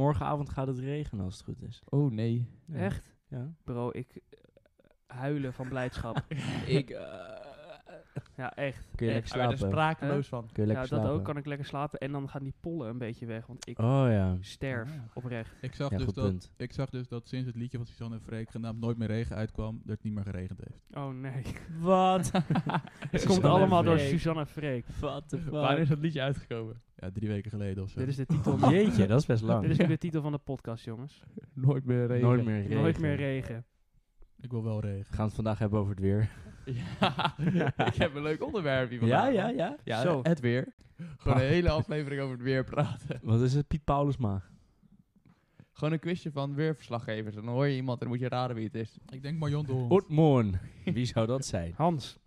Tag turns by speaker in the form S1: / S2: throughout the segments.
S1: morgenavond gaat het regenen als het goed is.
S2: Oh nee.
S1: Ja.
S3: Echt?
S1: Ja.
S3: Bro, ik eh, huilen van blijdschap. eh,
S2: Ik.
S3: ja, echt.
S2: Kun je lekker
S3: Echt.
S2: slapen?
S4: Daar ben je er sprakeloos van.
S2: Kun je
S3: Ja,
S2: lekker
S3: dat
S2: slapen?
S3: ook. Kan ik lekker slapen. En dan gaan die pollen een beetje weg. Want ik
S1: Oh ja.
S3: sterf
S4: Ja.
S3: oprecht.
S4: Ik zag,
S1: Ja,
S4: dus
S1: goed
S4: dat,
S1: punt.
S4: ik zag dus dat sinds het liedje van Suzanne en Freek genaamd Nooit meer regen uitkwam, dat het niet meer geregend heeft.
S3: Oh nee.
S1: Wat?
S3: Het
S1: Suzanne
S3: komt allemaal door
S1: Freek.
S3: Suzanne Freek.
S1: Wat de
S5: Wanneer is dat liedje uitgekomen?
S4: Ja, drie weken geleden of zo.
S3: Dit is de titel.
S1: Oh, Jeetje, dat is best
S3: Dit
S1: lang.
S3: is nu de titel van de podcast, jongens.
S5: Nooit meer regen.
S1: Nooit meer regen.
S3: Nooit meer regen.
S4: Ik wil wel
S1: We
S4: regen.
S1: gaan het vandaag hebben over het weer.
S5: Ja, ik heb een leuk onderwerp hier
S1: Ja,
S5: vandaag,
S1: ja,
S5: man.
S1: ja.
S5: Ja,
S3: Zo.
S5: het weer. Gewoon een hele aflevering over het weer praten.
S1: Wat is het? Piet Paulusma.
S5: Gewoon een quizje van weerverslaggevers. Dan hoor je iemand en moet je raden wie het is.
S4: Ik denk Marion de Hond.
S1: Oetmoorn. Wie zou dat zijn?
S3: Hans.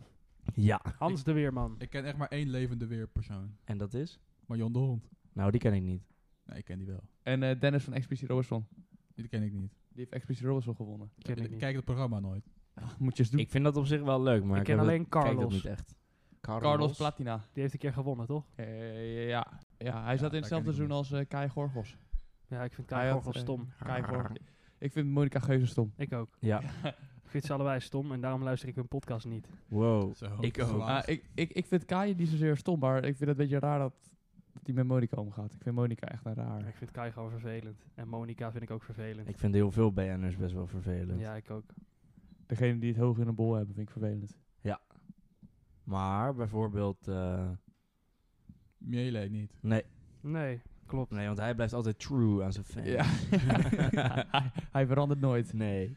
S1: Ja.
S3: Hans de Weerman.
S4: Ik ken echt maar één levende weerpersoon.
S1: En dat is?
S4: Marion de Hond.
S1: Nou, die ken ik niet.
S4: Nee, ik ken die wel.
S5: En eh, Dennis van Expeditie Robinson.
S4: Die ken ik niet.
S5: Die heeft Expeditie Robinson gewonnen.
S3: Ken ik
S4: ik
S3: niet.
S4: kijk het programma nooit.
S5: moet je eens doen.
S1: Ik vind dat op zich wel leuk, maar
S3: Ik
S1: ik
S3: ken
S1: heb
S3: alleen
S1: het- kijk dat
S3: Carlos.
S1: niet echt.
S5: Carlos, Platina.
S3: Die heeft een keer gewonnen, toch?
S5: Eh, ja. ja, hij zat in
S4: daar ken ik
S5: hetzelfde seizoen
S4: hem.
S5: als eh Kai Gorgos.
S3: Ja, ik vind
S5: Hij
S3: Kai
S5: had,
S3: gewoon wel
S5: eh,
S3: stom.
S5: Kai Gorgos. Ik vind Monica Geuze stom.
S3: Ik ook.
S1: Ja.
S3: Ik vind ze allebei stom en daarom luister ik hun podcast niet.
S1: Wow.
S4: Zo,
S1: Ik ook.
S4: zwaar.
S5: Ah, ik, ik, ik vind Kai niet zozeer stom, maar ik vind het een beetje raar dat dat hij met Monica omgaat. Ik vind Monica echt een raar.
S3: Ik vind Kai gewoon vervelend. En Monica vind ik ook vervelend.
S1: Ik vind heel veel BN'ers best wel vervelend.
S3: ja, ik ook.
S5: Degene die het hoog in de bol hebben, vind ik vervelend.
S1: Maar bijvoorbeeld... eh,
S4: Miele niet.
S1: nee.
S3: Nee, klopt.
S1: nee, want hij blijft altijd true aan zijn fans.
S5: Ja. hij, hij verandert nooit.
S1: Nee.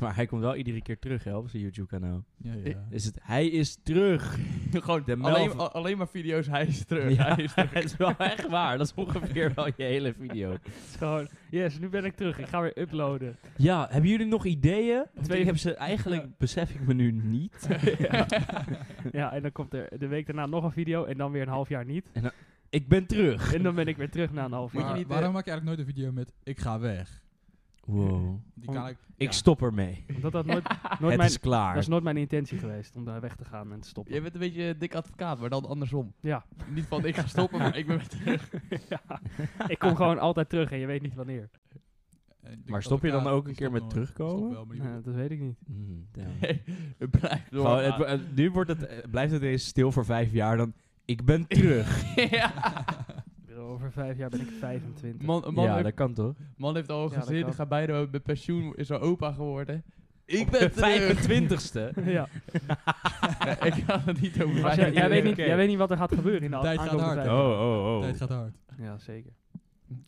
S1: Maar hij komt wel iedere keer terug hè, op zijn YouTube-kanaal.
S4: Ja, ja.
S5: Ik-
S1: Is het, hij is terug.
S5: Gewoon
S1: De
S5: alleen,
S1: Melv-
S5: al- alleen maar video's, hij is terug.
S1: Ja,
S5: Hij is terug.
S1: Het is wel echt waar. Dat is ongeveer wel je hele video.
S3: Het is gewoon, yes, nu ben ik terug. Ik ga weer uploaden.
S1: Ja, hebben jullie nog ideeën? Want
S3: Twee-
S1: ik heb ze eigenlijk, besef ik me nu niet.
S3: Ja, en dan komt er de week daarna nog een video en dan weer een half jaar niet.
S1: Ik ben terug.
S3: En dan ben ik weer terug na een half
S4: Maar
S5: Moet je
S3: jaar.
S5: niet, eh,
S4: waarom maak je eigenlijk nooit een video met ik ga weg?
S1: Wow.
S4: Die kan ik,
S1: Ik
S4: ja.
S1: stop ermee.
S3: Omdat dat nooit, nooit
S1: Het
S3: mijn...
S1: is klaar.
S3: Dat is nooit mijn intentie geweest om daar weg te gaan en te stoppen.
S5: Je bent een beetje een dik advocaat, maar dan andersom.
S3: Ja.
S5: Niet van ik ga stoppen, maar ik ben weer terug.
S3: ja. Ik kom gewoon altijd terug en je weet niet wanneer.
S4: En Eh, die
S1: Maar stop je dan
S4: advocaat,
S1: ook een
S4: die
S1: keer
S4: stopt
S1: met
S4: nooit. Stop
S1: terugkomen?
S4: wel, maar die
S3: Nou,
S4: wordt-
S3: dat weet ik niet.
S1: Mm, damn.
S5: Nee, het blijft door.
S1: Gewoon, het, wo- nu wordt het, eh, blijft het eens stil voor vijf jaar. Dan, ik ben terug.
S5: ja.
S3: Over vijf jaar ben ik 25.
S5: Man, een man,
S1: ja,
S5: heeft,
S1: dat kan toch?
S5: man heeft al dus een
S3: Ja, dat
S5: gezin,
S3: kan.
S5: gaat bijna met pensioen, is al opa geworden. Ik
S1: De Oh,
S5: ben terug.
S1: 25ste.
S3: ja.
S5: Nee, ik ga het niet over
S3: Als jij,
S5: vijf
S3: jij,
S5: jaar.
S3: weet niet,
S1: Oké.
S3: jij weet niet wat er gaat gebeuren in de
S4: Tijd gaat
S3: aankomende
S4: hard,
S3: vijf
S1: Oh,
S4: Ja.
S3: jaar.
S1: oh, oh.
S4: Tijd gaat hard.
S3: Ja, zeker.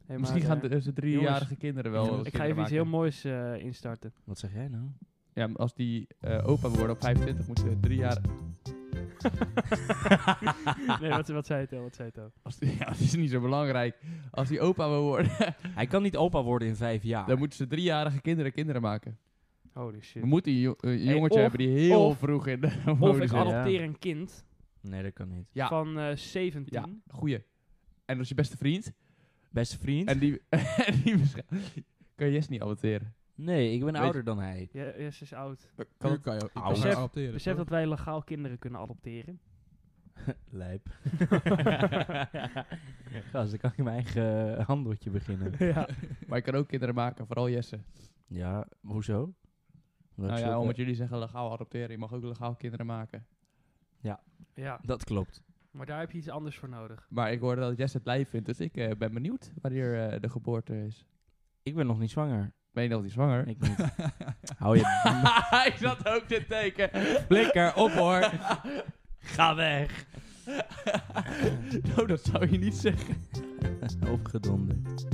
S3: Hey,
S5: Misschien
S3: maar,
S5: gaan
S3: eh,
S5: de, onze driejarige kinderen wel.
S4: jongens,
S5: wat
S3: Ik ga
S5: kinderen
S3: even iets heel
S5: maken.
S3: moois eh, instarten.
S1: Wat zeg jij nou?
S5: Ja, maar als die eh, opa worden op 25, moeten ze drie jaar.
S3: nee, wat, wat zei het al? Wat zei het al?
S5: Als die, ja, dat is niet zo belangrijk. Als die opa wil worden,
S1: Hij kan niet opa worden in vijf jaar.
S5: dan moeten ze driejarige kinderen kinderen maken.
S3: Holy shit.
S5: We moeten een jo- een
S3: Hey,
S5: jongetje
S3: of-
S5: hebben die heel
S3: of-
S5: vroeg in de
S3: Of
S5: modus
S3: ik
S5: is.
S1: al-
S3: adopteer een kind
S1: Nee, dat kan niet.
S5: Ja.
S3: van eh 17.
S5: Goeie. En dat is je beste vriend.
S1: Beste vriend?
S5: En die, en die misschien- kan je Jes niet adopteren.
S1: nee, ik ben
S5: Weet-
S1: ouder dan hij.
S3: Ja, ja, ze is oud.
S5: Kan
S4: Nu
S5: het-
S4: kan je, ik kan
S1: Ouder.
S4: haar adopteren.
S3: Besef
S4: toch?
S3: dat wij legaal kinderen kunnen adopteren.
S1: Lijp. Gast, dan kan ik mijn eigen eh, handeltje beginnen.
S3: ja.
S5: Maar je kan ook kinderen maken, vooral Jesse.
S1: Ja, hoezo? Omdat ik
S5: Nou ja,
S1: zulke-
S5: omdat jullie zeggen legaal adopteren, je mag ook legaal kinderen maken.
S3: ja,
S1: Dat klopt.
S3: maar daar heb je iets anders voor nodig.
S5: Maar ik hoorde dat Jesse het lijf vindt, dus ik eh, ben benieuwd wanneer eh, de geboorte is.
S1: Ik ben nog niet zwanger.
S5: Ben je nog niet zwanger?
S1: Ik niet. Hou je
S5: Hij zat ook te teken.
S1: blikker op hoor. Ga weg.
S5: nou, dat zou je niet zeggen.
S1: Opgedonderd.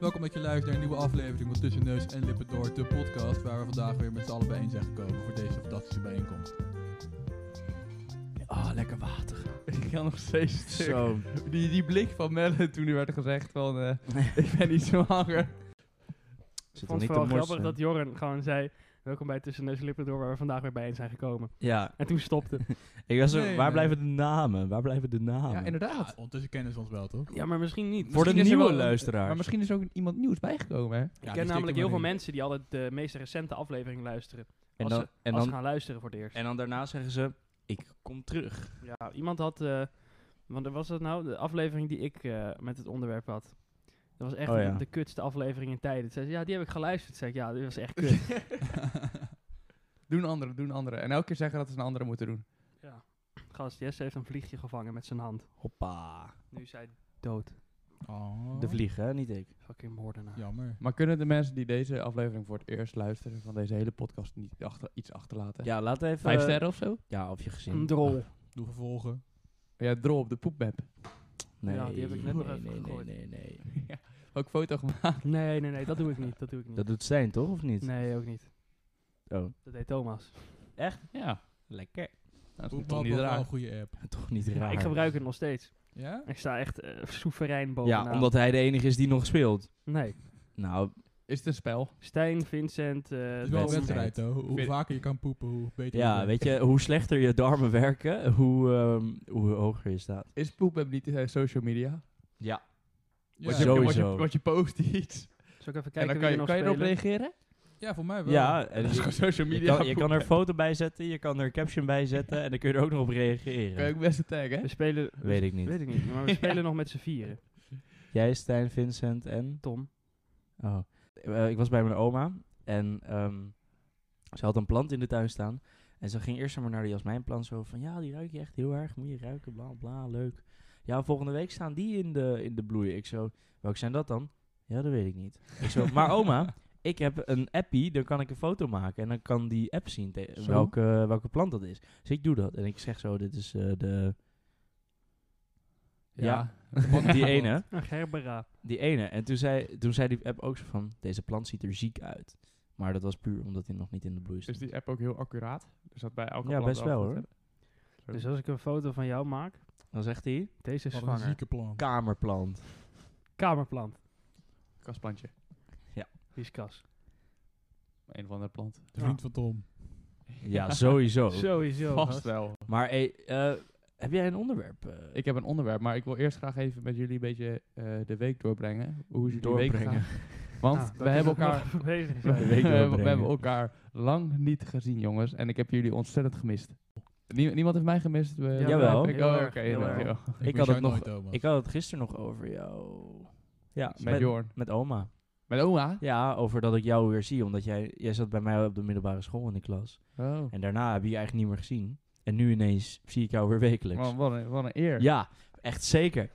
S4: Welkom dat je luistert naar een nieuwe aflevering van Tussen Neus en Lippen Door, de podcast waar we vandaag weer met z'n allen bijeen zijn gekomen voor deze fantastische bijeenkomst.
S1: Oh, lekker water.
S5: Ik kan nog steeds stuk.
S1: Zo.
S5: Die, die blik van Melle toen er werd gezegd van, eh, ik ben niet zwanger.
S1: Zit
S3: Ik vond het
S1: niet te
S3: vooral
S1: morsen.
S3: grappig dat Jorren gewoon zei... Welkom bij Tussen Neus en Lippen door, waar we vandaag weer bijeen zijn gekomen.
S1: Ja,
S3: En toen stopte het.
S1: ik was zo,
S4: Nee,
S1: waar
S4: nee.
S1: blijven de namen? Waar blijven de namen?
S5: Ja, inderdaad.
S4: Ja, Ah, ondertussen kennen ze ons wel, toch?
S3: Ja, maar misschien niet.
S1: Voor de
S5: Misschien is er
S1: nieuwe
S5: wel-
S1: luisteraars.
S5: Maar misschien is ook iemand nieuws bijgekomen, hè?
S3: ik ken namelijk heel veel mensen die altijd de meest recente aflevering luisteren.
S1: en
S3: als
S1: dan,
S3: ze-
S1: en,
S3: als
S1: dan,
S3: ze gaan luisteren voor het eerst.
S1: en dan daarna zeggen ze, ik kom terug.
S3: Ja, iemand had... eh, want er was dat nou? De aflevering die ik eh, met het onderwerp had. Dat was echt
S1: Oh, ja.
S3: de kutste aflevering in tijden. Zei ze, ja, die heb ik geluisterd. Zei ik, ja, die was echt kut.
S5: Doen anderen, doen anderen. En elke keer zeggen dat ze een andere moeten doen.
S3: ja. Gast, Jesse heeft een vliegje gevangen met zijn hand.
S1: Hoppa.
S3: Nu is hij dood.
S4: Oh,
S1: De vlieg, hè? Niet ik.
S3: Fucking moordenaar.
S4: Jammer.
S5: Maar kunnen de mensen die deze aflevering voor het eerst luisteren van deze hele podcast niet achter, iets achterlaten?
S1: Ja, laat even...
S5: Vijf sterren of zo?
S1: Ja, of je gezin.
S3: Een drol.
S4: Doe
S1: Nou,
S4: gevolgen.
S5: Ja, drol op de poepmap.
S1: Nee,
S3: Ja, die heb ik net nog
S1: nee,
S3: even
S1: nee,
S3: gegooid.
S1: Nee, nee, nee.
S5: Ook foto gemaakt.
S3: Ah, Nee, nee, nee, dat doe ik niet. Dat doe ik niet.
S1: Dat doet zijn toch, of niet?
S3: nee, ook niet.
S1: Oh.
S3: Dat deed Thomas.
S5: Ja.
S1: Lekker.
S5: Dat is
S4: Poep
S5: toch
S4: wel
S5: niet
S4: een
S5: raar.
S4: goede app.
S1: Toch niet raar.
S3: Ja, ik gebruik het nog steeds.
S4: Ja?
S3: Ik sta echt eh, soeverein bovenaan.
S1: ja, omdat hij de enige is die nog speelt.
S3: Nee.
S1: Nou,
S5: Is het een spel?
S3: Stijn, Vincent, eh,
S4: Het is wel een
S3: Tom.
S4: wedstrijd, hoor. Hoe- Hoe
S5: Vind-
S4: vaker je kan poepen, hoe beter
S1: ja, weet je, hoe slechter je darmen werken, hoe, ehm, hoe hoger je staat.
S5: Is poepmap niet eh, social media?
S1: Ja.
S5: Want
S4: Ja.
S5: je, want je,
S1: Sowieso.
S5: want je post iets.
S3: Zal ik even
S5: en
S3: kijken
S5: dan
S3: wie
S5: kan
S3: er
S5: je,
S3: nog
S5: kan je erop
S3: spelen?
S5: reageren?
S4: Ja, voor mij wel.
S1: Ja, en
S5: Dat is
S1: je,
S5: gewoon social
S1: je
S5: media.
S1: kan, je kan er een foto bij zetten, je kan er een caption bij zetten en dan kun je er ook nog op
S5: Kan je
S1: reageren.
S5: ook best een tag, hè?
S3: We spelen...
S1: Weet ik niet.
S3: Weet ik niet, maar we spelen nog met z'n vieren.
S1: Jij, Stijn, Vincent en...
S3: Tom.
S1: Oh. Eh, ik was bij mijn oma en ehm, ze had een plant in de tuin staan. En ze ging eerst maar naar die jasmijnplant zo van... Ja, die ruik je echt heel erg, moet je ruiken, bla bla, leuk. Ja, volgende week staan die in de, in de bloei. Ik zo, welke zijn dat dan? Ja, dat weet ik niet. Ik zo, maar oma, ik heb een appie, dan kan ik een foto maken. En dan kan die app zien te-
S5: Zo?
S1: welke, welke plant dat is. Dus ik doe dat. En ik zeg zo, dit is eh, de... Ja. Die ene.
S3: Een gerbera.
S1: Die ene. En toen zei, toen zei die app ook zo van, deze plant ziet er ziek uit. Maar dat was puur omdat hij nog niet in de bloei stond.
S5: Is die app ook heel accuraat? Dus dat bij elke
S1: Ja,
S5: plant
S1: best wel,
S5: altijd,
S1: hoor.
S5: hè?
S3: Dus als ik een foto van jou maak,
S1: Dan zegt hij,
S3: deze is
S4: Wat een
S3: zwanger.
S4: zieke plan.
S1: kamerplant.
S3: Kamerplant.
S5: Kastplantje.
S3: Die is kas.
S5: Een of andere plant.
S4: De vriend van Tom.
S1: Ja, sowieso.
S3: Sowieso.
S5: Vast
S3: gast.
S5: wel.
S1: Maar hey, eh, heb jij een onderwerp? eh,
S5: Ik heb een onderwerp, maar ik wil eerst graag even met jullie een beetje eh, de week doorbrengen. Hoe is jullie week
S1: Doorbrengen.
S5: gegaan? Want
S3: Ah, dat
S5: we, hebben
S3: is nog
S5: elkaar,
S3: even bezig.
S1: De
S5: we,
S1: week
S5: hebben- we
S1: doorbrengen.
S5: hebben elkaar lang niet gezien, jongens. En ik heb jullie ontzettend gemist. Nie- niemand heeft mij gemist? We-
S1: Jawel.
S5: Ik,
S3: Heel
S5: oh,
S3: erg,
S5: oké,
S3: heel erg.
S5: dankjewel.
S1: Ik
S4: mis
S1: had het
S4: jou
S1: nog-
S4: nooit, Thomas.
S1: Ik had het gisteren nog over jou. Ja,
S5: Met
S1: met,
S5: Jorn.
S1: met oma.
S5: Met oma?
S1: Ja, over dat ik jou weer zie, omdat jij, jij zat bij mij op de middelbare school in de klas.
S5: Oh.
S1: En daarna heb je je eigenlijk niet meer gezien. En nu ineens zie ik jou weer wekelijks.
S5: Oh, Wat, wat, een, wat een eer.
S1: Ja, echt zeker.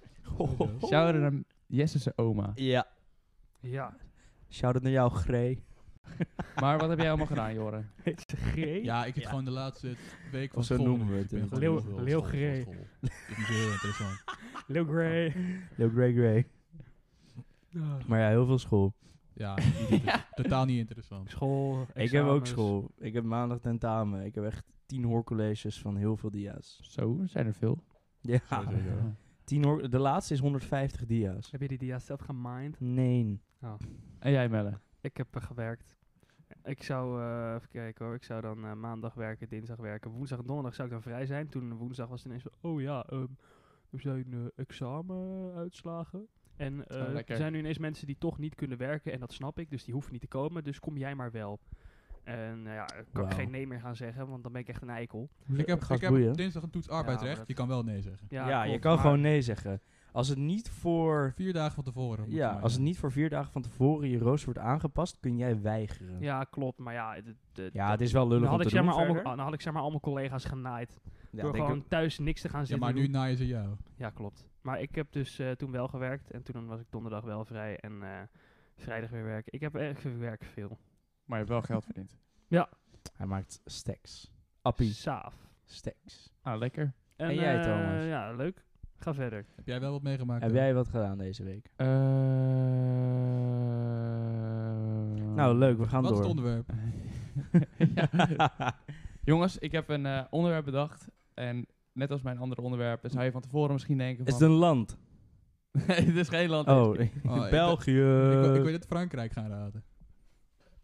S5: Shout-out naar Jesse's oma.
S1: Ja,
S3: Ja.
S1: shout-out naar jou, Gray.
S5: Maar wat heb jij allemaal gedaan, Joren?
S3: Heet ze Gree?
S4: Ja, ik zit
S1: Ja.
S4: gewoon de laatste week van
S1: Of zo
S4: school
S1: noemen we
S4: nu.
S1: het
S4: Ik ben
S1: inderdaad.
S4: gewoon
S3: Leeuw-
S4: heel veel
S3: Leeuw Grey.
S4: op school, op school. Dat is heel interessant.
S3: Lil Grey.
S1: Yo, Gray, Gray.
S3: Ah.
S1: Maar ja, heel veel school.
S4: Ja, niet inter- totaal niet interessant.
S3: School.
S1: Ik heb ook
S3: examens.
S1: school. Ik heb maandag tentamen. Ik heb echt tien hoorcolleges van heel veel dia's.
S5: Zo, er zijn er veel.
S1: Ja,
S4: Sowieso.
S1: tien hoor de laatste is 150 dia's.
S3: Heb je die dia zelf gemind?
S1: Nee.
S5: En jij, Melle?
S3: Ik heb eh, gewerkt. Ik zou, eh, even kijken hoor, ik zou dan eh, maandag werken, dinsdag werken, woensdag en donderdag zou ik dan vrij zijn. Toen woensdag was het ineens zo, oh ja,
S5: eh,
S3: ehm, er zijn eh, examenuitslagen. En eh,
S5: Oh, lekker.
S3: er zijn nu ineens mensen die toch niet kunnen werken en dat snap ik, dus die hoeven niet te komen, dus kom jij maar wel. En nou ja, kan ik
S1: Wauw.
S3: geen nee meer gaan zeggen, want dan ben ik echt een eikel.
S4: Ik heb, ik
S1: Gast,
S4: heb
S1: boeien.
S4: dinsdag een toets arbeidsrecht.
S3: dat-
S4: Je kan wel nee zeggen.
S1: Ja, je
S3: klopt,
S1: kan
S3: maar
S1: gewoon nee zeggen. Als het niet voor...
S4: Vier dagen van tevoren. moet je
S1: Ja,
S4: maar
S1: als het
S4: zeggen.
S1: niet voor vier dagen van tevoren je rooster wordt aangepast, kun jij weigeren.
S3: Ja, klopt, maar ja... het- het- het-
S1: Ja, het is wel
S3: dan
S1: lullig om
S3: had,
S1: te
S3: ik zeg
S1: doen
S3: maar al mijn,
S1: verder.
S3: dan had ik zeg maar al mijn collega's genaaid.
S1: Ja,
S3: door
S1: denk ik
S3: gewoon
S1: ook.
S3: thuis niks te gaan
S4: Ja,
S3: zitten
S4: maar
S3: doen.
S4: nu naaien ze jou.
S3: Ja, klopt. Maar ik heb dus eh, toen wel gewerkt en toen was ik donderdag wel vrij en eh, vrijdag weer werken. Ik heb erg veel werk veel.
S5: Maar je hebt wel geld verdiend.
S1: Hij maakt stacks. Appie,
S3: Saaf.
S1: stacks.
S5: Ah, lekker.
S3: En,
S1: jij,
S3: eh,
S1: Thomas?
S3: ja, leuk. Ga verder.
S4: Heb jij wel wat meegemaakt? eh?
S1: Heb
S4: Tom?
S1: jij wat gedaan deze week?
S5: Eh,
S3: Ehm,
S1: Nou, leuk, we gaan
S4: Wat is het
S1: door.
S4: onderwerp?
S5: Ja. Jongens, ik heb een eh, onderwerp bedacht. En net als mijn andere onderwerpen zou je van tevoren misschien denken
S1: Is
S5: van...
S1: het een land?
S5: nee, het is geen land.
S1: Oh,
S4: Oh, ik-
S1: België.
S4: Ik, wil- ik wil dit Frankrijk gaan raden.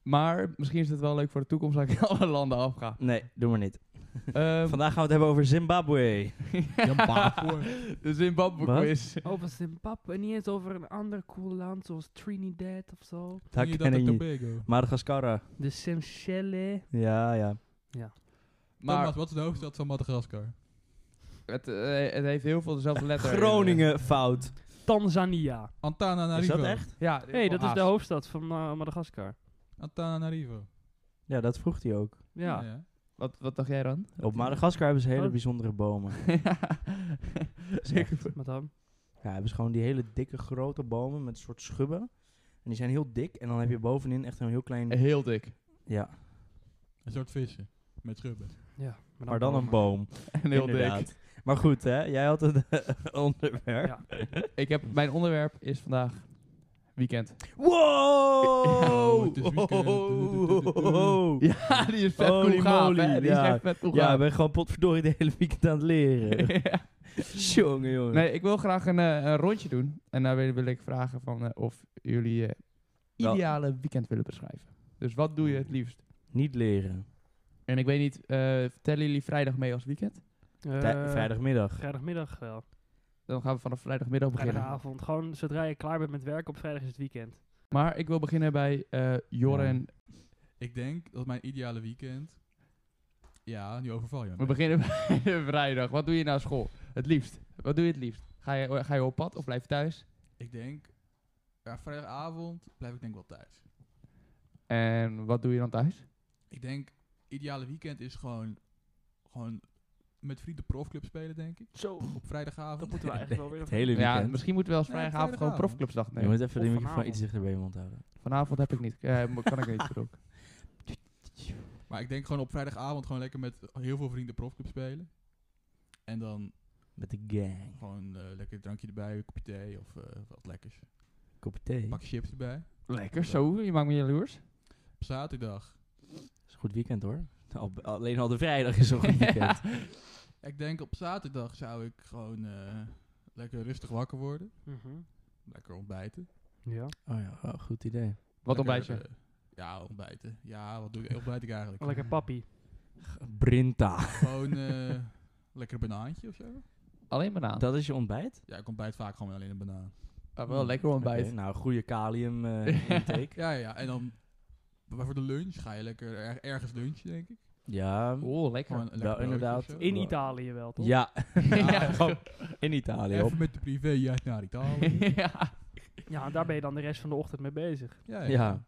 S5: Maar misschien is het wel leuk voor de toekomst dat ik alle landen afga.
S1: Nee, doe maar niet.
S5: Ehm,
S1: Vandaag gaan we het hebben over Zimbabwe.
S4: Zimbabwe.
S5: de Zimbabwe
S1: Wat?
S5: quiz.
S3: Over Zimbabwe, niet eens over een ander cool land zoals Trinidad of zo.
S1: Dat ken ik
S4: en
S1: niet.
S4: Tobago.
S1: Madagaskar.
S3: De Seychelles.
S1: Ja, ja.
S5: Maar
S4: Thomas, wat is de hoofdstad van Madagaskar?
S5: het, eh, het heeft heel veel dezelfde letter.
S1: Groningen fout.
S3: Tanzania.
S1: Is
S4: Antananarivo.
S1: dat echt?
S5: Ja, oh,
S3: Hé, hey, dat is de hoofdstad van eh, Madagaskar.
S4: Antananarivo.
S1: Ja, dat vroeg hij ook.
S3: Ja.
S5: Wat, wat dacht jij dan?
S1: Op Madagaskar hebben ze hele
S3: Oh.
S1: bijzondere bomen.
S5: Zeker.
S3: Maar dan?
S1: Ja, hebben ze gewoon die hele dikke grote bomen met een soort schubben. En die zijn heel dik. En dan heb je bovenin echt een heel klein...
S5: Heel dik.
S1: Ja,
S4: Een soort visje. Met schubben.
S3: Ja.
S1: maar dan een boom.
S5: En heel dik.
S1: Inderdaad. Maar goed, hè. Jij had een onderwerp.
S3: Ja.
S5: Ik heb, mijn onderwerp is vandaag weekend.
S1: Wow!
S4: het is weekend.
S5: Ja, die is vet
S1: Holy
S5: cool gaaf,
S1: moly,
S5: hè? Die is
S1: ja.
S5: echt vet cool
S1: Ja,
S5: gaaf.
S1: ik ben gewoon potverdorie de hele weekend aan het leren.
S5: Ja.
S1: jongen, jongen.
S5: Nee, ik wil graag een, eh, een rondje doen. En daar wil, wil ik vragen van eh, of jullie eh,
S1: Wel-
S5: ideale weekend willen beschrijven. Dus wat doe je het liefst?
S1: Niet leren.
S5: En ik weet niet, eh, tellen jullie vrijdag mee als weekend?
S1: Tij-
S3: Eh,
S1: vrijdagmiddag.
S3: Vrijdagmiddag wel.
S5: Dan gaan we vanaf vrijdagmiddag beginnen.
S3: Vrijdagavond. Gewoon zodra je klaar bent met werk op vrijdag is het weekend.
S5: Maar ik wil beginnen bij eh Joren.
S4: Ik denk dat mijn ideale weekend... Ja, nu overval je me.
S5: We beginnen bij de vrijdag. Wat doe je na school? Het liefst. Wat doe je het liefst? Ga je, ga je op pad of blijf je thuis?
S4: Ik denk... Ja, vrijdagavond blijf ik denk wel thuis.
S5: En wat doe je dan thuis?
S4: Ik denk, ideale weekend is gewoon... Gewoon met vrienden profclub spelen, denk ik.
S3: Zo.
S4: Op vrijdagavond.
S3: Dat moeten we eigenlijk wel weer...
S1: Het hele weekend.
S5: Ja, misschien moeten we als
S4: Nee,
S5: vrijdagavond gewoon
S4: vrijdagavond.
S5: profclubsdag
S1: Je
S5: nemen.
S1: moet even de
S3: Of
S1: microfoon
S3: vanavond.
S1: iets dichter bij je mond houden.
S5: Vanavond heb ik niet. Eh, mo- kan ik niet gedronken.
S4: Maar ik denk gewoon op vrijdagavond gewoon lekker met heel veel vrienden profclub spelen. En dan
S1: Met de gang.
S4: gewoon eh, lekker een drankje erbij, een kopje thee of eh, wat lekkers.
S1: Kopje thee.
S4: Een pak chips erbij.
S5: Lekker zo, je maakt me jaloers.
S4: Op zaterdag.
S1: is een goed weekend hoor. Al- alleen al de vrijdag is een goed weekend.
S4: Ik denk op zaterdag zou ik gewoon eh, lekker rustig wakker worden.
S3: Mhm.
S4: Lekker ontbijten.
S3: Ja.
S1: Oh ja, oh, goed idee.
S5: Wat ontbijt
S4: Lekker,
S5: je?
S4: eh, ja, ontbijten. Ja, wat doe ik, ontbijt ik eigenlijk?
S3: Lekker papi.
S1: Brinta.
S4: Gewoon eh, lekker een banaantje of zo.
S5: Alleen banaan.
S1: Dat is je ontbijt?
S4: Ja, ik ontbijt vaak gewoon alleen een banaan.
S5: Ah, wel lekker ontbijt.
S1: Oké, nou, goede kalium eh, intake.
S4: Ja, ja, ja. En dan maar voor de lunch ga je lekker er- ergens lunchen, denk ik.
S1: Ja,
S5: Oh, lekker.
S4: Gewoon een lekker
S1: Wel,
S4: broodje of
S1: inderdaad.
S4: zo.
S3: In
S1: Wow.
S3: Italië wel, toch?
S1: ja. Nou,
S5: Ja.
S1: gewoon in Italië. Op.
S4: Even met de privé uit naar Italië.
S5: ja.
S3: Ja, en daar ben je dan de rest van de ochtend mee bezig.
S4: ja,
S1: Ja.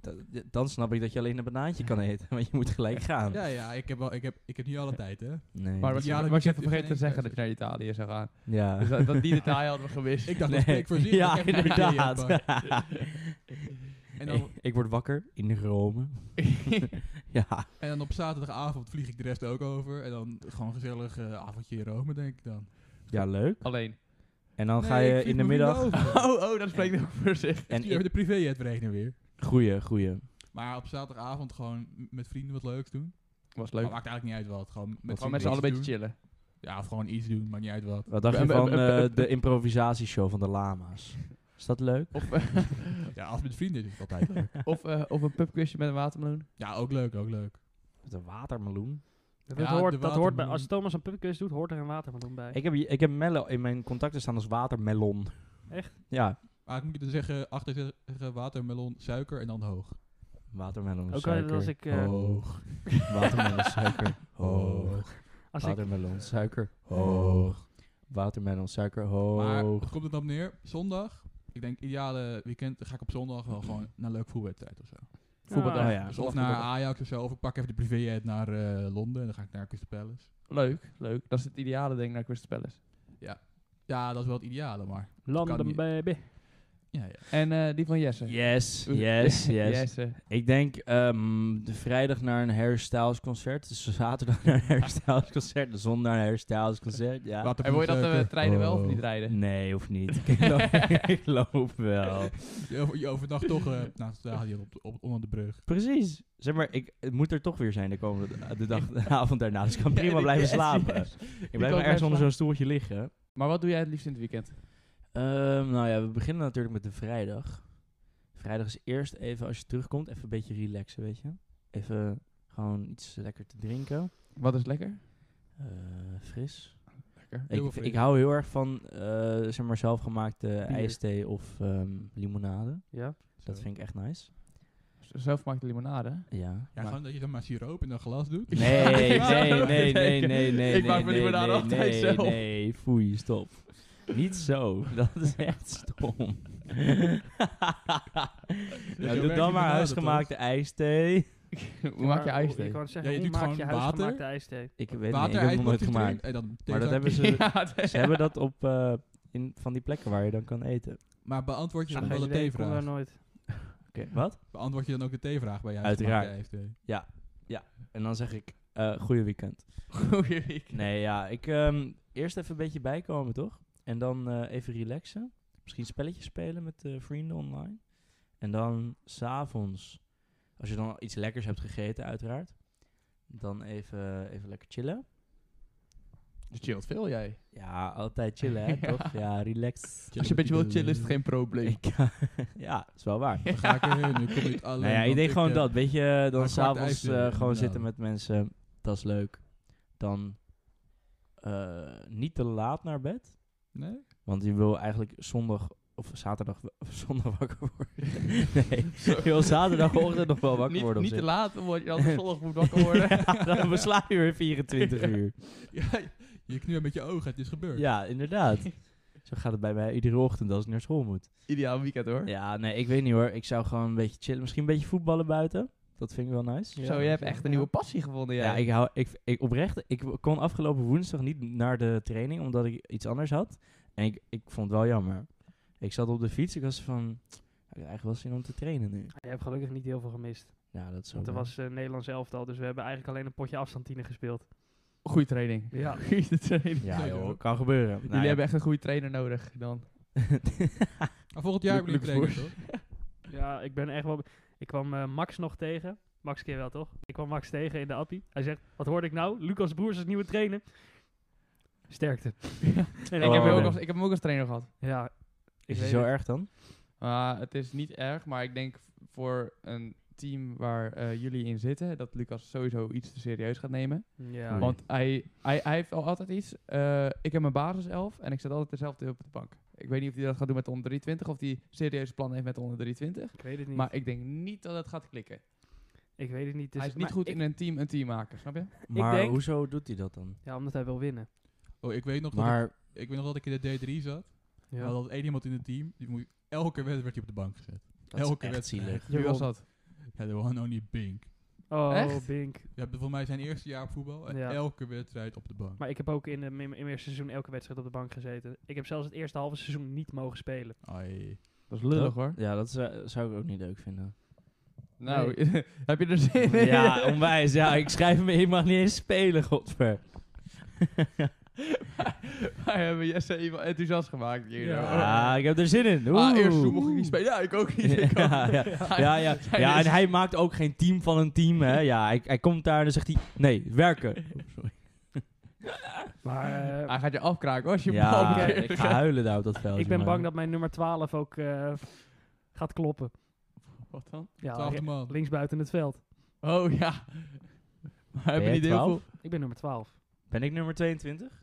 S1: Da- Dan snap ik dat je alleen een banaantje kan eten, want je moet gelijk gaan.
S4: Ja, ja, ik heb, wel, ik heb, ik heb niet alle tijd, hè.
S1: Nee.
S5: Maar was
S4: Ideale
S5: je, was je
S4: weekend
S5: even
S4: is
S5: vergeten te
S4: geen
S5: zeggen dat
S4: enkele
S5: je naar Italië zou gaan?
S1: ja.
S5: Dus dat, dat die detail hadden we gemist.
S4: Ik dacht, dat spreekt voor zich.
S1: Ja,
S4: dat ik even een privé
S1: inderdaad.
S4: uitpak. En dan,
S1: ik word wakker in Rome. ja.
S4: en dan op zaterdagavond vlieg ik de rest ook over. En dan gewoon gezellig eh, avondje in Rome, denk ik dan.
S1: ja, leuk.
S5: Alleen.
S1: En dan
S4: Nee,
S1: ga je
S4: ik vlieg
S1: in de
S4: nog niet
S1: middag...
S4: over.
S5: Oh, oh, dat spreekt ook voor zich.
S1: En
S4: Stuur even
S1: in,
S4: de privé uitrekenen weer.
S1: goeie, goeie.
S4: Maar op zaterdagavond gewoon m- met vrienden wat leuks doen.
S5: Was
S4: Oh, Maar
S5: leuk.
S4: maakt eigenlijk niet uit wat. Gewoon met,
S5: Gewoon met z'n
S4: vrienden
S5: allen een
S4: iets
S5: beetje chillen.
S4: doen. Ja, of gewoon iets doen, maakt niet uit wat.
S1: Wat dacht je
S5: Be- be-
S1: van
S5: be-
S1: eh, de improvisatieshow van de lama's? Is dat leuk?
S5: Of, eh,
S4: Ja, als met vrienden is het altijd leuk.
S5: of, eh, of een pubquizje met een watermeloen.
S4: Ja, ook leuk, ook leuk.
S1: Met een watermeloen.
S3: Dat,
S4: Ja, de
S3: hoort, dat hoort bij,
S4: watermeloen.
S3: als Thomas een pubquiz doet, hoort er een watermeloen bij.
S1: Ik heb, ik heb melon in mijn contacten staan als watermelon.
S3: Echt?
S1: Ja,
S4: Maar ik moet je dan zeggen, achter zeggen watermelon, suiker en dan hoog.
S1: watermelon,
S3: Ook al
S1: suiker.
S3: als ik... eh,
S4: Hoog,
S1: Watermelon, suiker, hoog.
S3: als ik
S1: Watermelon, suiker, hoog. Watermelon, suiker,
S4: Maar
S1: hoog.
S4: wat komt het dan op neer? Zondag. Ik denk ideale weekend. Dan ga ik op zondag wel gewoon naar een leuk voetbalwedstrijd of zo.
S5: Voetbaldag.
S1: Ah, ja.
S4: Dus
S5: zondag
S4: of naar
S5: voetbaldag.
S4: Ajax of zo. Of ik pak even de privé naar eh, Londen en dan ga ik naar Crystal Palace.
S5: Leuk, leuk. Dat is het ideale ding naar Crystal Palace.
S4: Ja, dat is wel het ideale, maar... Kan
S3: London,
S4: niet.
S3: baby.
S4: Ja, ja.
S5: En eh, die van Jesse.
S1: Yes, yes, yes.
S5: Jesse.
S1: Ik denk ehm, de vrijdag naar een Harry Styles concert. Dus zaterdag naar een Harry Styles concert. De zondag naar een Harry Styles concert. Ja.
S4: Watermelon,
S5: En wil je dat we
S4: suiker.
S5: treinen wel of
S4: Oh.
S5: niet rijden?
S1: Nee, hoeft niet. Ik loop, ik loop wel.
S4: Je, over- je overnacht toch eh naar het stadion op, op, onder de brug.
S1: Precies. Zeg maar, ik, het moet er toch weer zijn de komende de dag, de avond daarna. Dus ik kan
S5: Ja,
S1: prima
S5: die-
S1: blijven
S5: yes,
S1: slapen.
S5: yes.
S1: Ik
S5: kan
S1: blijf maar
S5: blijven
S1: ergens onder
S5: slapen.
S1: zo'n stoeltje liggen.
S5: Maar wat doe jij het liefst in het weekend?
S1: Ehm, nou ja, we beginnen natuurlijk met de vrijdag. Vrijdag is eerst even, als je terugkomt, even een beetje relaxen, weet je. Even gewoon iets lekker te drinken.
S5: Wat is lekker?
S1: Eh, fris.
S5: Lekker.
S1: Ik,
S4: Heel
S1: ik
S4: fris.
S1: hou heel erg van eh, zeg maar zelfgemaakte
S3: Bier.
S1: ijsthee of ehm, limonade.
S3: Ja?
S1: Dat vind ik echt nice.
S5: Zelfgemaakte limonade.
S1: Ja.
S4: Ja,
S1: maar-
S4: gewoon dat je er maar siroop in een glas doet.
S1: Nee,
S5: Ja,
S1: nee,
S5: ik wou-
S1: nee, nee, nee, nee.
S5: Ik
S1: nee,
S5: maak me
S1: nee,
S5: limonade
S1: nee,
S5: altijd
S1: nee,
S5: zelf.
S1: Nee, foei, stop. Niet zo. Dat is echt stom.
S4: werkt
S1: nou, doe
S4: limonade,
S1: dan maar huisgemaakte ijsthee.
S5: Hoe maak je
S3: Maar
S5: ijsthee?
S3: Ik kan zeggen,
S4: Ja, je
S3: hoe
S4: doet
S3: maak
S4: gewoon
S3: je
S4: water.
S3: huisgemaakte ijsthee?
S1: Ik weet niet, ik
S4: Water,
S1: heb het
S4: ijs,
S1: nog nooit
S4: botje erin.
S1: gemaakt.
S4: En dan
S1: Maar dat
S4: theezakje.
S1: hebben ze,
S5: Ja,
S1: ze hebben dat op eh, in, van die plekken waar je dan kan eten.
S4: Maar beantwoord je
S3: Nou,
S4: dan
S3: geen
S4: wel de
S3: idee, ik kom daar
S4: theevraag?
S3: nooit.
S1: Wat?
S4: Beantwoord je dan ook de theevraag bij jou?
S1: Uiteraard.
S4: Uiteraard.
S1: En dan zeg ik, eh goeie weekend.
S5: Goeie week.
S1: Nee, ja, ik ehm, eerst even een beetje bijkomen, toch? En dan eh, even relaxen. Misschien spelletjes spelen met eh, vrienden online. En dan s'avonds, als je dan iets lekkers hebt gegeten, uiteraard. Dan even, even lekker chillen.
S5: Je chillt veel, jij.
S1: Ja, altijd chillen, hè,
S5: Ja.
S1: toch? Ja, relax.
S5: Als je een beetje wilt chillen, is het geen probleem.
S1: Ik, ja, dat is wel waar.
S4: Dan ga ik erheen, nu kom je het alleen.
S1: Nou ja, ik
S4: want
S1: denk gewoon
S4: eh,
S1: dat. Weet je, dan
S4: maak zwart ijs
S1: s'avonds
S4: willen,
S1: eh gewoon
S4: inderdaad.
S1: zitten met mensen. Dat is leuk. Dan eh, niet te laat naar bed.
S4: Nee?
S1: Want je wil eigenlijk zondag of zaterdag wa- of zondag wakker worden. nee, je wil zaterdagochtend nog wel wakker
S5: Niet,
S1: worden. op
S5: niet te
S1: zich.
S5: laat, want je altijd zondag moet wakker worden.
S1: Ja, dan besla je weer 24 uur.
S4: Ja, je knuurt met je ogen, het is gebeurd.
S1: Ja, inderdaad. Zo gaat het bij mij iedere ochtend als ik naar school moet.
S5: Ideaal weekend, hoor.
S1: Ja, nee, ik weet niet hoor. Ik zou gewoon een beetje chillen. Misschien een beetje voetballen buiten. Dat vind ik wel nice.
S5: Zo, je hebt echt een nieuwe passie gevonden, jij.
S1: Ja, ik hou, ik, ik oprecht, ik kon afgelopen woensdag niet naar de training omdat ik iets anders had. En ik, ik vond het wel jammer. Ik zat op de fiets, ik was van, ik heb eigenlijk wel zin om te trainen nu.
S3: Je hebt gelukkig niet heel veel gemist.
S1: Ja, dat is
S3: Want er
S1: waar.
S3: was eh, Nederlands elftal, dus we hebben eigenlijk alleen een potje afstandtine gespeeld.
S5: Goeie training.
S3: Ja.
S5: Goeie training.
S1: Ja,
S4: Zeker.
S1: joh, kan gebeuren. Nou
S5: Jullie
S1: ja.
S5: hebben echt een goede trainer nodig dan.
S4: Maar volgend jaar
S5: Luc-
S4: ben ik
S5: Luc
S4: trainer, toch?
S3: Ja, ik ben echt wel... Ik kwam eh, Max nog tegen. Max keer wel, toch? Ik kwam Max tegen in de appie. Hij zegt, wat hoorde ik nou? Lucas Broers is nieuwe trainer. Sterkte. en
S1: Oh,
S5: ik, heb hem ook
S1: nee.
S5: als, ik heb hem ook als trainer gehad.
S3: Ja, ik
S1: is
S3: weet
S1: het zo
S3: het.
S1: erg dan?
S5: Ah, het is niet erg, maar ik denk voor een team waar eh, jullie in zitten, dat Lucas sowieso iets te serieus gaat nemen.
S3: Oh, Ja,
S5: Want hij, hij, hij heeft al altijd iets. eh, ik heb mijn basiself en ik zet altijd dezelfde op de bank. Ik weet niet of hij dat gaat doen met de onder 23, of hij serieuze plannen heeft met de onder 23.
S3: ik weet het niet.
S5: Maar ik denk niet dat het gaat klikken.
S3: ik weet het niet. Dus
S5: hij is niet
S3: maar
S5: goed
S3: ik-
S5: in een team een team maken, snap je?
S1: Maar
S3: denk-
S1: hoezo doet hij dat dan?
S3: Ja, omdat hij wil winnen.
S4: Oh, ik weet nog, dat,
S1: Maar,
S4: ik, ik weet nog dat ik in de D3 zat. We
S3: Ja.
S4: hadden één iemand in het team. Die moe- elke wedstrijd werd hij op de bank gezet.
S1: dat is
S4: elke
S1: echt
S4: wedstrijd.
S1: zielig.
S5: Wie was
S3: Jawel.
S5: dat?
S4: Ja, de one only Bink.
S3: Oh,
S5: Echt?
S3: Bink.
S4: Ja, voor mij zijn eerste jaar op voetbal. En
S3: Ja.
S4: elke wedstrijd op de bank.
S3: Maar ik heb ook in, de, in mijn eerste seizoen elke wedstrijd op de bank gezeten. Ik heb zelfs het eerste halve seizoen niet mogen spelen.
S4: Ai.
S5: Dat is lullig
S1: Dat-
S5: hoor.
S1: Ja, dat zou, zou ik ook niet leuk vinden.
S5: Nou, heb je er zin in?
S1: ja, onwijs. Ja, ik schrijf me, ik mag niet eens spelen, godver.
S5: Wij hebben Jesse even enthousiast gemaakt hier.
S1: Ja, ik heb er zin in.
S5: Ah,
S1: Oeh.
S5: eerst toen mocht ik niet spelen. Ja, ik ook niet. Ik ook
S1: Ja, ja.
S5: niet.
S1: Ja, ja.
S5: Hij
S1: ja,
S5: is-
S1: en hij maakt ook geen team van een team, hè. Ja, hij, hij komt daar en dan zegt hij, nee, werken. Oh, sorry.
S3: Maar eh,
S5: Hij gaat je afkraken hoor, als je bal
S1: Ja,
S5: bekeert.
S1: ik ga huilen daar op dat veld.
S3: ik ben
S1: jongen.
S3: bang dat mijn nummer 12 ook eh, gaat kloppen.
S5: Wat dan?
S3: Ja,
S4: Twaalfde
S3: re-
S4: man.
S3: links buiten het veld.
S5: Oh ja. Maar
S1: Ben
S5: hebben
S1: jij
S5: niet heel
S1: 12?
S5: veel...
S3: Ik ben nummer 12.
S1: Ben ik nummer 22?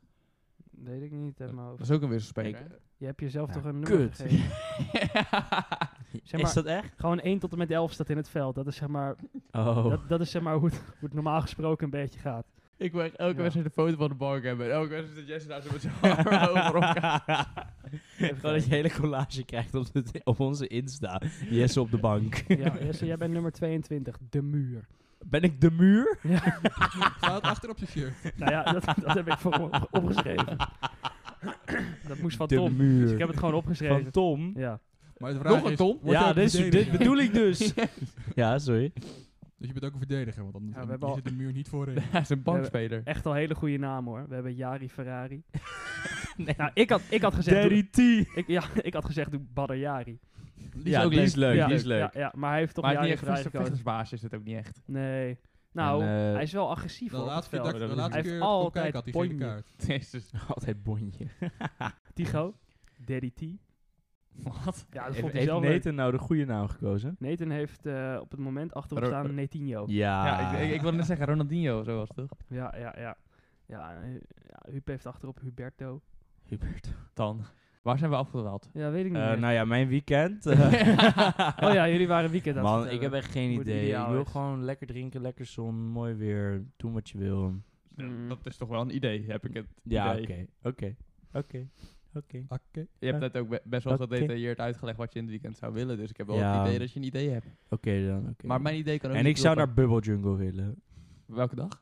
S3: Weet ik niet uit mijn
S5: Dat
S3: hoofd.
S5: is ook een wisselspeler.
S1: Ik-
S5: hè?
S3: Je hebt jezelf
S1: Ja,
S3: toch een nummer
S1: kut.
S3: gegeven? Zeg maar-
S1: Is dat echt?
S3: Gewoon 1 tot en met 11 staat in het veld. Dat is zeg maar,
S1: Oh.
S3: dat, dat is zeg maar hoe, het, hoe het normaal gesproken een beetje gaat.
S5: ik wil echt elke
S3: Ja.
S5: wedstrijd een foto van de bank hebben. En elke wedstrijd dat Jesse daar zo met zijn armen over elkaar.
S1: Gewoon dat je hele collage krijgt op, de- op onze Insta. Jesse op de bank.
S3: Ja, Jesse, jij bent nummer 22, de muur.
S1: Ben ik de muur?
S3: Ja,
S4: Staat achter op zijn shirt.
S3: nou ja, dat, dat heb ik voor me op- opgeschreven. Dat moest van
S1: de
S3: Tom.
S1: muur.
S3: Dus ik heb het gewoon
S1: Van
S3: opgeschreven.
S1: Tom?
S3: Ja.
S4: Maar de vraag
S5: Nog een
S4: is,
S5: ton?
S4: word jij
S1: ja,
S4: ook
S1: dit, is- dit
S4: verdediger?
S1: bedoel ik dus. ja, sorry.
S4: Dus je bent ook een verdediger, want anders
S3: Ja, we
S4: dan-
S3: hebben
S4: je
S3: al-
S4: zit de muur niet voorin.
S5: Hij is een bankspeler.
S3: Echt al hele goede naam hoor. We hebben Jari Ferrari. Nou, ik had, ik had gezegd... doe-
S1: T.
S3: ik, ja, ik had gezegd, doe Badr Jari.
S1: Die ja, die is leuk.
S3: ja,
S1: die is leuk.
S3: Ja, ja, maar hij heeft toch
S5: Maar hij
S3: Jari
S5: heeft niet echt
S3: Ferrari
S5: vecht-
S3: gekozen.
S5: vechtersbaas, is het ook niet echt.
S3: Nee. Nou,
S1: En, eh,
S3: hij is wel agressief
S4: De
S3: hoor, op het
S4: laatste keer
S3: veld.
S4: dat ik
S5: dat
S4: de
S5: is
S4: laatste
S3: niet-
S4: keer
S3: Hij heeft
S4: kon kijken had hij gele
S3: altijd
S4: kaart.
S5: Jezus.
S1: Altijd bonje.
S3: Tigo, Daddy T.
S5: Wat?
S3: Ja, dat
S1: Heeft,
S3: vond hij
S1: heeft
S3: zelf leuk.
S1: Nathan nou de goede naam gekozen?
S3: Nathan heeft eh, op het moment achterop
S5: Ro-
S3: staan Netinho.
S1: Ja.
S5: Ja, ik, ik, ik wilde net zeggen Ronaldinho, zo was het toch?
S3: Ja, ja, ja. Ja, eh, ja, Huub heeft achterop Huberto.
S1: Hubert.
S3: Hmm.
S5: Dan. Waar zijn we afgedwaald?
S3: Ja, weet ik niet
S1: Eh,
S3: meer.
S1: nou ja, mijn weekend.
S3: Oh ja, jullie waren weekend aan het
S1: Man,
S3: vertellen.
S1: ik heb echt geen
S3: Hoe het
S1: idee. Ik
S3: ideaal
S1: wil
S3: is.
S1: gewoon lekker drinken, lekker zon, mooi weer, doen wat je wil.
S3: Mm.
S5: Dat is toch wel een idee, heb ik het
S1: Ja,
S5: idee.
S1: oké, oké, oké, oké.
S4: Oké.
S5: Je hebt net ook be- best wel
S1: Oké.
S5: gedetailleerd uitgelegd wat je in het weekend zou willen, dus ik heb wel
S1: Ja.
S5: het idee dat je een idee hebt.
S1: Oké dan, oké.
S5: Maar mijn idee kan ook
S1: En
S5: niet
S1: ik zou
S5: kloppen.
S1: naar Bubble Jungle willen.
S5: Welke dag?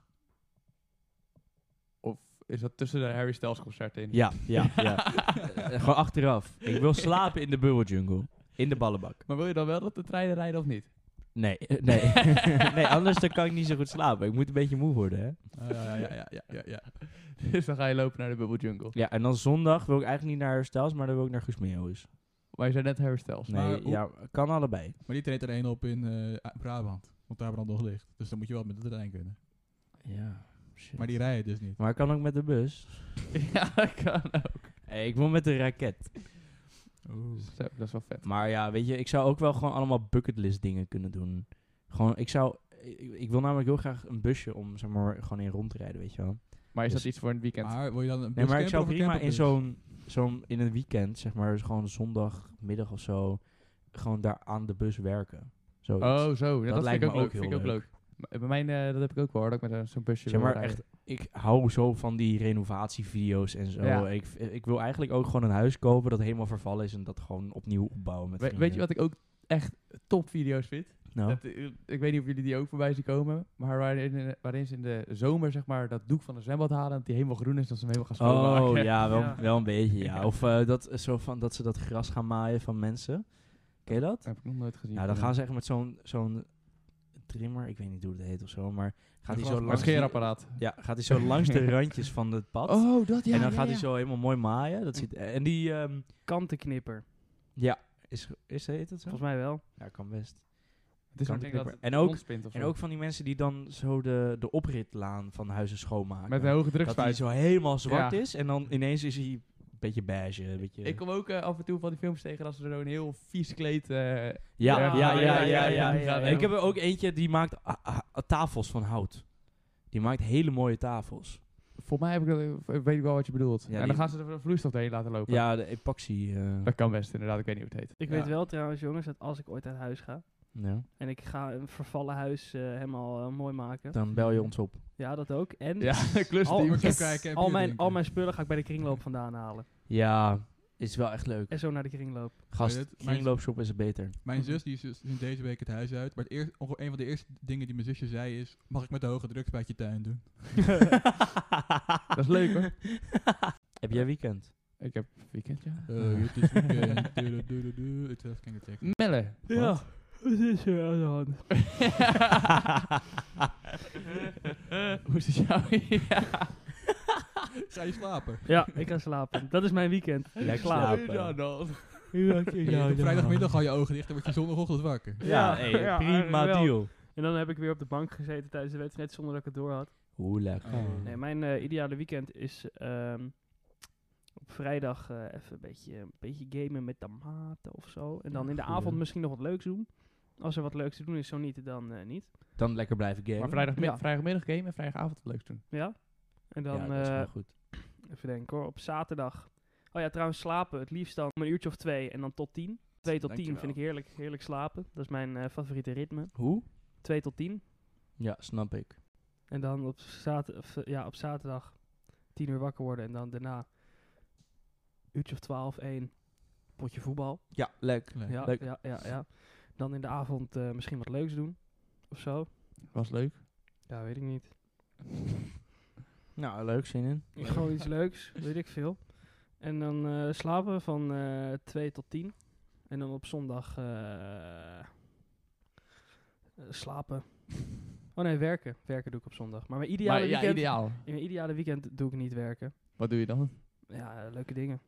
S5: Of is dat tussen de Harry Styles concerten in?
S1: Ja, ja, ja. Eh, gewoon achteraf. Ik wil slapen in de Bubble Jungle. In de ballenbak.
S5: Maar wil je dan wel dat de treinen rijden of niet?
S1: Nee, eh, nee. nee, anders dan kan ik niet zo goed slapen. Ik moet een beetje moe worden, hè.
S4: Ah, ja, ja, ja, ja, ja, ja.
S5: Dus dan ga je lopen naar de Bubble Jungle.
S1: Ja, en dan zondag wil ik eigenlijk niet naar Stels, maar dan wil ik naar Guus Meeuwis.
S5: Maar je zei net Harry Styles.
S1: Nee,
S4: Maar hoe-
S1: ja, kan allebei.
S4: Maar die treedt er één op in eh, Brabant. Want daar brandt nog licht. Dus dan moet je wel met de trein kunnen.
S1: Ja, shit.
S4: Maar die rijden dus niet.
S1: Maar ik kan ook met de bus.
S5: ja, dat kan ook.
S1: Eh, ik wil met de raket.
S5: Zo, dat is wel vet.
S1: Maar ja, weet je, ik zou ook wel gewoon allemaal bucketlist dingen kunnen doen. Gewoon, ik zou... Ik, ik wil namelijk heel graag een busje om, zeg maar, gewoon in rond te rijden, weet je wel.
S5: Maar is
S1: Dus-
S5: dat iets voor een weekend?
S4: Maar wil je dan een
S1: Nee, maar ik
S4: buscamper
S1: zou
S4: of een
S1: prima in
S5: dus?
S4: camperbus?
S1: zo'n... zo'n in een weekend, zeg maar, dus gewoon zondagmiddag of zo... gewoon daar aan de bus werken. Zoiets.
S5: oh, zo. Ja, dat,
S1: lijkt
S5: vind ik ook
S1: me
S5: leuk.
S1: ook heel
S5: vind ik ook leuk. Maar Bij mij, eh, dat heb ik ook wel hoor, dat ik met zo'n- zo'n busje
S1: Zeg
S5: wil
S1: maar
S5: rijden.
S1: echt, ik hou zo van die renovatievideo's en zo.
S5: Ja.
S1: Ik, ik wil eigenlijk ook gewoon een huis kopen dat helemaal vervallen is en dat gewoon opnieuw opbouwen met eh,
S5: We- weet je wat ik ook echt topvideo's vind?
S1: wat? Nou,
S5: Dat, eh, ik weet niet of jullie die ook voorbij zien komen, maar waarin, eh, waarin ze in de zomer zeg maar dat doek van een zwembad halen, dat die helemaal groen is, dat ze hem helemaal gaan schoonmaken.
S1: oh ja wel,
S3: Ja.
S1: wel een beetje ja.
S5: Ja.
S1: Of eh, dat, zo van, dat ze dat gras gaan maaien van mensen. Ken je dat?
S5: heb ik nog nooit gezien.
S1: Ja, dan gaan ze echt met zo'n zo'n trimmer, ik weet niet hoe het heet of zo, maar gaat hij zo
S4: gewoon
S5: Een
S1: langs, die,
S5: scheerapparaat.
S1: ja, gaat die zo langs de randjes van het pad.
S5: Oh, dat ja.
S1: en dan
S5: ja,
S1: gaat
S5: ja.
S1: hij zo helemaal mooi maaien. Dat ziet, en die, ehm,
S3: Kantenknipper.
S1: is, is heet dat zo?
S3: Volgens mij wel.
S1: Ja, kan best.
S5: Het is
S1: Kan
S5: zo'n ding dat
S1: knippen. En ook-
S5: rondspint of
S1: En
S5: zo.
S1: ook van die mensen die dan zo de, de opritlaan van huizen schoonmaken.
S5: met een hoge
S1: dat hij
S5: drukspuit.
S1: zo helemaal zwart
S5: Ja.
S1: is en dan ineens is hij een beetje beige. Een beetje...
S5: Ik kom ook eh, af en toe van die films tegen dat ze zo'n heel vies kleed... eh,
S1: ja,
S3: Ja,
S1: ja, ja, ja, ja,
S3: ja, ja, ja.
S1: En Ik heb er ook eentje die maakt ah, ah, ah, tafels van hout. Die maakt hele mooie tafels.
S5: Voor mij heb ik dat, eh, weet ik wel wat je bedoelt. en
S1: die-
S5: dan gaan ze er vloeistof doorheen laten lopen.
S1: Ja, de epoxy. eh,
S5: Dat kan best inderdaad, ik weet niet hoe het heet. Ja.
S3: Ik weet wel trouwens, jongens, dat als ik ooit uit huis ga
S1: ja.
S3: en ik ga een vervallen huis eh, helemaal eh, mooi maken.
S1: Dan bel je ons op.
S3: Ja, dat ook. En
S5: Ja, klus
S1: Oh,
S3: al,
S5: die.
S4: moet je even kijken en
S3: al,
S4: bier
S3: mijn,
S4: drinken.
S3: al mijn spullen ga ik bij de kringloop vandaan halen.
S1: Ja, is wel echt leuk.
S3: En zo naar de kringloop.
S1: Gast,
S4: Maar dit- maar-
S1: kringloopshop is het beter.
S4: Mijn zus die is dus sinds deze week het huis uit. Maar het eerst, onge- een van de eerste dingen die mijn zusje zei is... Mag ik met de hoge drukspuit je tuin doen?
S5: Dat is leuk, hoor.
S1: Heb jij weekend?
S5: Ik heb weekend, ja.
S4: Eh, het is weekend. Dudu, dudu, dudu. Het is geen tekst.
S5: Melle.
S3: Ja, wat is er aan de hand?
S5: Hoe is het jou?
S4: Ga je slapen?
S3: Ja, ik ga slapen. Dat is mijn weekend.
S1: Lekker
S3: Slaap.
S1: slapen. Ja,
S4: Ja, op vrijdagmiddag hou je ogen dicht en word je zondagochtend wakker.
S3: Ja,
S1: hey,
S3: ja,
S1: prima
S3: eigenlijk wel.
S1: deal.
S3: En dan heb ik weer op de bank gezeten tijdens de wedstrijd zonder dat ik het door had.
S1: Hoe lekker.
S4: Oh.
S3: Nee, mijn eh, ideale weekend is ehm, op vrijdag eh, even een beetje, een beetje gamen met de maten of zo. En dan in de
S1: goeie.
S3: avond misschien nog wat leuks doen. Als er wat leuks te doen is, zo niet, dan eh, niet.
S1: Dan lekker blijven gamen.
S5: Maar vrijdagmi-
S3: Ja.
S5: vrijdagmiddag game en vrijdagavond wat leuks doen.
S3: Ja? En dan,
S1: ja, dat is
S3: eh,
S1: wel goed.
S3: even denken hoor, op zaterdag. Oh ja, trouwens slapen. Het liefst dan om een uurtje of twee en dan tot tien. Twee tot tien
S4: Dankjewel.
S3: vind ik heerlijk, heerlijk slapen. Dat is mijn eh, favoriete ritme.
S1: Hoe?
S3: Twee tot tien.
S1: Ja, snap ik.
S3: En dan op, zater of, eh, ja, op zaterdag tien uur wakker worden. En dan daarna uurtje of twaalf, één potje voetbal.
S1: Ja, leuk.
S4: Leuk.
S3: Ja,
S1: Leuk.
S3: ja, ja, ja. Dan in de avond eh, misschien wat leuks doen. Of zo.
S5: Was leuk.
S3: Ja, weet ik niet.
S1: Nou, leuk, zin in.
S3: Gewoon iets leuks, weet ik veel. En dan eh, slapen van eh 2 tot 10. En dan op zondag eh, eh, slapen. Oh nee, werken. Werken doe ik op zondag. Maar mijn ideale,
S5: maar ja,
S3: weekend,
S5: ideaal.
S3: in mijn ideale weekend doe ik niet werken.
S5: Wat doe je dan?
S3: Ja, eh, leuke dingen.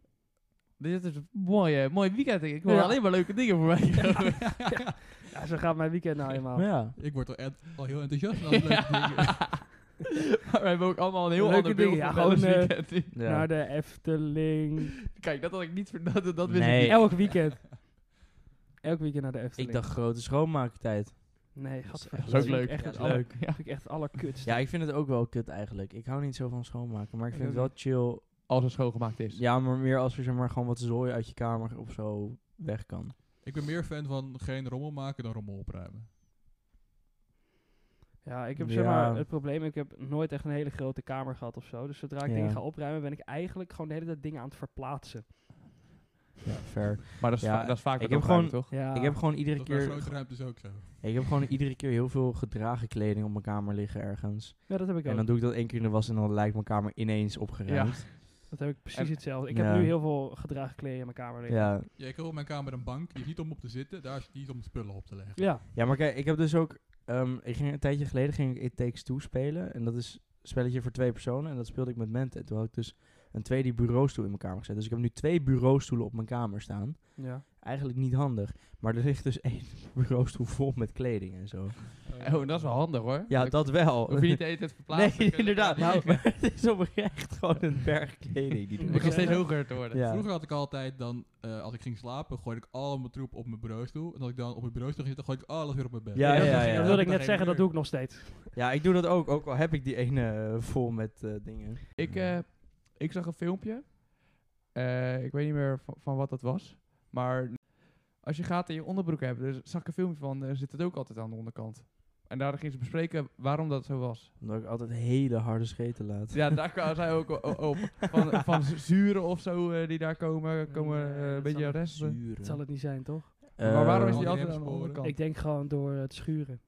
S5: Dit is een mooie, mooi weekend. Ik hoor
S3: Ja.
S5: alleen maar leuke dingen voor mij.
S3: Ja, zo gaat mijn weekend nou eenmaal.
S1: Ja.
S4: Ik word al, ent- al heel enthousiast van alle leuke dingen.
S5: maar we hebben ook allemaal een heel
S3: Leuke
S5: ander beeld
S3: dingen, ja,
S5: van Wellens
S3: gewoon, eh,
S5: weekend.
S1: Ja.
S3: Naar de Efteling.
S5: Kijk, dat had ik niet ver- dat, dat wist
S1: Nee.
S5: ik niet.
S3: Elk weekend. Elk weekend naar de Efteling.
S1: ik dacht grote schoonmaaktijd. Dat
S3: Nee,
S1: is
S3: gadver.
S1: echt
S5: Dat is ook
S3: vind
S5: leuk.
S3: ik Echt
S1: Ja,
S3: het
S1: dat is
S3: aller-
S1: leuk.
S5: Ja.
S3: vind ik echt het allerkutst.
S1: Ja, ik vind het ook wel kut eigenlijk. Ik hou niet zo van schoonmaken, maar ik
S5: Ik
S1: vind het wel
S5: ook
S1: chill.
S5: Als het schoongemaakt is.
S1: Ja, maar meer als er zeg maar gewoon wat zooi uit je kamer of zo weg kan.
S4: Ik ben meer fan van geen rommel maken dan rommel opruimen.
S3: Ja, ik heb
S1: Ja.
S3: zeg maar het probleem, ik heb nooit echt een hele grote kamer gehad of zo. Dus zodra ik
S1: Ja.
S3: dingen ga opruimen, ben ik eigenlijk gewoon de hele tijd dingen aan het verplaatsen.
S1: Ja, fair.
S5: Maar dat is,
S1: Ja,
S5: va- dat is vaak
S1: ik
S5: wat
S1: heb
S5: opruimen,
S1: gewoon-
S5: toch?
S3: Ja.
S1: Ik heb gewoon iedere
S4: Dat is bij
S1: keer
S4: grote ruimtes ook zo.
S1: Ik heb gewoon iedere keer heel veel gedragen kleding op mijn kamer liggen ergens.
S3: ja, dat heb ik
S1: En
S3: ook.
S1: dan doe ik dat één keer in de was en dan lijkt mijn kamer ineens opgeruimd.
S3: dat heb ik precies
S5: en-
S3: hetzelfde. Ik
S1: Ja.
S3: heb nu heel veel gedragen kleren in mijn kamer
S1: Ja.
S3: liggen.
S1: Ja.
S4: Ja, ik heb op mijn kamer een bank. Die is niet om op te zitten, daar is niet om spullen op te leggen.
S3: Ja.
S1: maar kijk, ik heb dus ook... ehm, ik ging een tijdje geleden ging ik It Takes Two spelen. En dat is een spelletje voor twee personen. En dat speelde ik met Ment. En toen had ik dus een tweede bureaustoel in mijn kamer gezet. Dus ik heb nu twee bureaustoelen op mijn kamer staan.
S3: ja.
S1: Eigenlijk niet handig. Maar er ligt dus één bureaustoel vol met kleding en zo.
S5: Oh, dat is wel handig hoor.
S1: Ja,
S5: Dan
S1: dat wel.
S5: Hoef je niet de hele tijd te verplaatsen.
S1: Nee,
S5: Kun je lekker-
S1: inderdaad. Nou, maar het is oprecht gewoon een berg kleding. Die er
S3: Ik
S5: Ik
S1: ligt.
S5: ga steeds hoger te worden.
S1: Ja.
S4: Vroeger had ik altijd dan, eh, als ik ging slapen, gooide ik al mijn troep op mijn bureaustoel. En als ik dan op mijn bureaustoel ging zitten, gooide ik alles weer op mijn bed.
S1: Ja, ja, ja,
S3: dat
S1: ja.
S3: wilde ik
S4: Dan
S3: net
S4: geen
S3: zeggen, dat
S4: muur.
S3: doe ik nog steeds.
S1: Ja, ik doe dat ook. Ook al heb ik die ene eh, vol met eh, dingen.
S5: Ik,
S3: Hmm.
S5: eh, ik zag een filmpje. Eh, ik weet niet meer van, van wat dat was. Maar als je gaten in je onderbroek hebt, dus zag ik een filmpje van, eh, zit het ook altijd aan de onderkant. En daar gingen ze bespreken waarom dat zo was.
S1: Omdat ik altijd hele harde scheten laat.
S5: Ja, daar kwamen zij ook o- o- op. Van, van z- zuren of zo eh, die daar komen, komen eh,
S3: Nee,
S5: een
S3: dat
S5: beetje
S3: zal-
S5: resten.
S3: Dat zal het niet zijn, toch?
S1: Eh,
S5: maar waarom is
S4: al
S5: die
S4: die
S5: altijd aan de
S4: remsporen.
S5: onderkant?
S3: Ik denk gewoon door het schuren.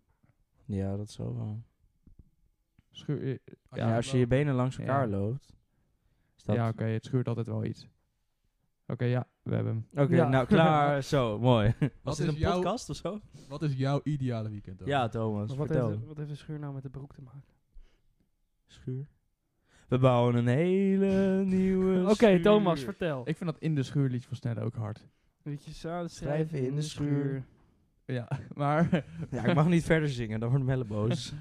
S1: Ja, dat zal wel.
S5: Schuur- eh,
S4: Als
S1: Ja, als je je benen langs elkaar
S5: Ja.
S1: loopt. is dat-
S5: ja, oké, het schuurt altijd wel iets. Oké, ja, we hebben hem.
S1: Oké,
S3: Ja.
S1: nou klaar. Zo, mooi. Was
S4: Wat
S1: dit
S4: is
S1: een
S4: jouw-
S1: podcast of zo?
S4: Wat is jouw ideale weekend? dan?
S1: Ja, Thomas,
S3: Maar wat heeft,
S1: vertel.
S3: de, wat heeft de schuur nou met de broek te maken?
S1: Schuur. We bouwen een hele nieuwe
S3: Oké,
S1: schuur.
S3: Thomas, vertel.
S5: Ik vind dat in de schuur liedje van Snelle ook hard.
S3: Weet je, samen
S1: Schrijven in de schuur.
S5: Ja, maar
S1: Ja, ik mag niet verder zingen, dan wordt Melle boos.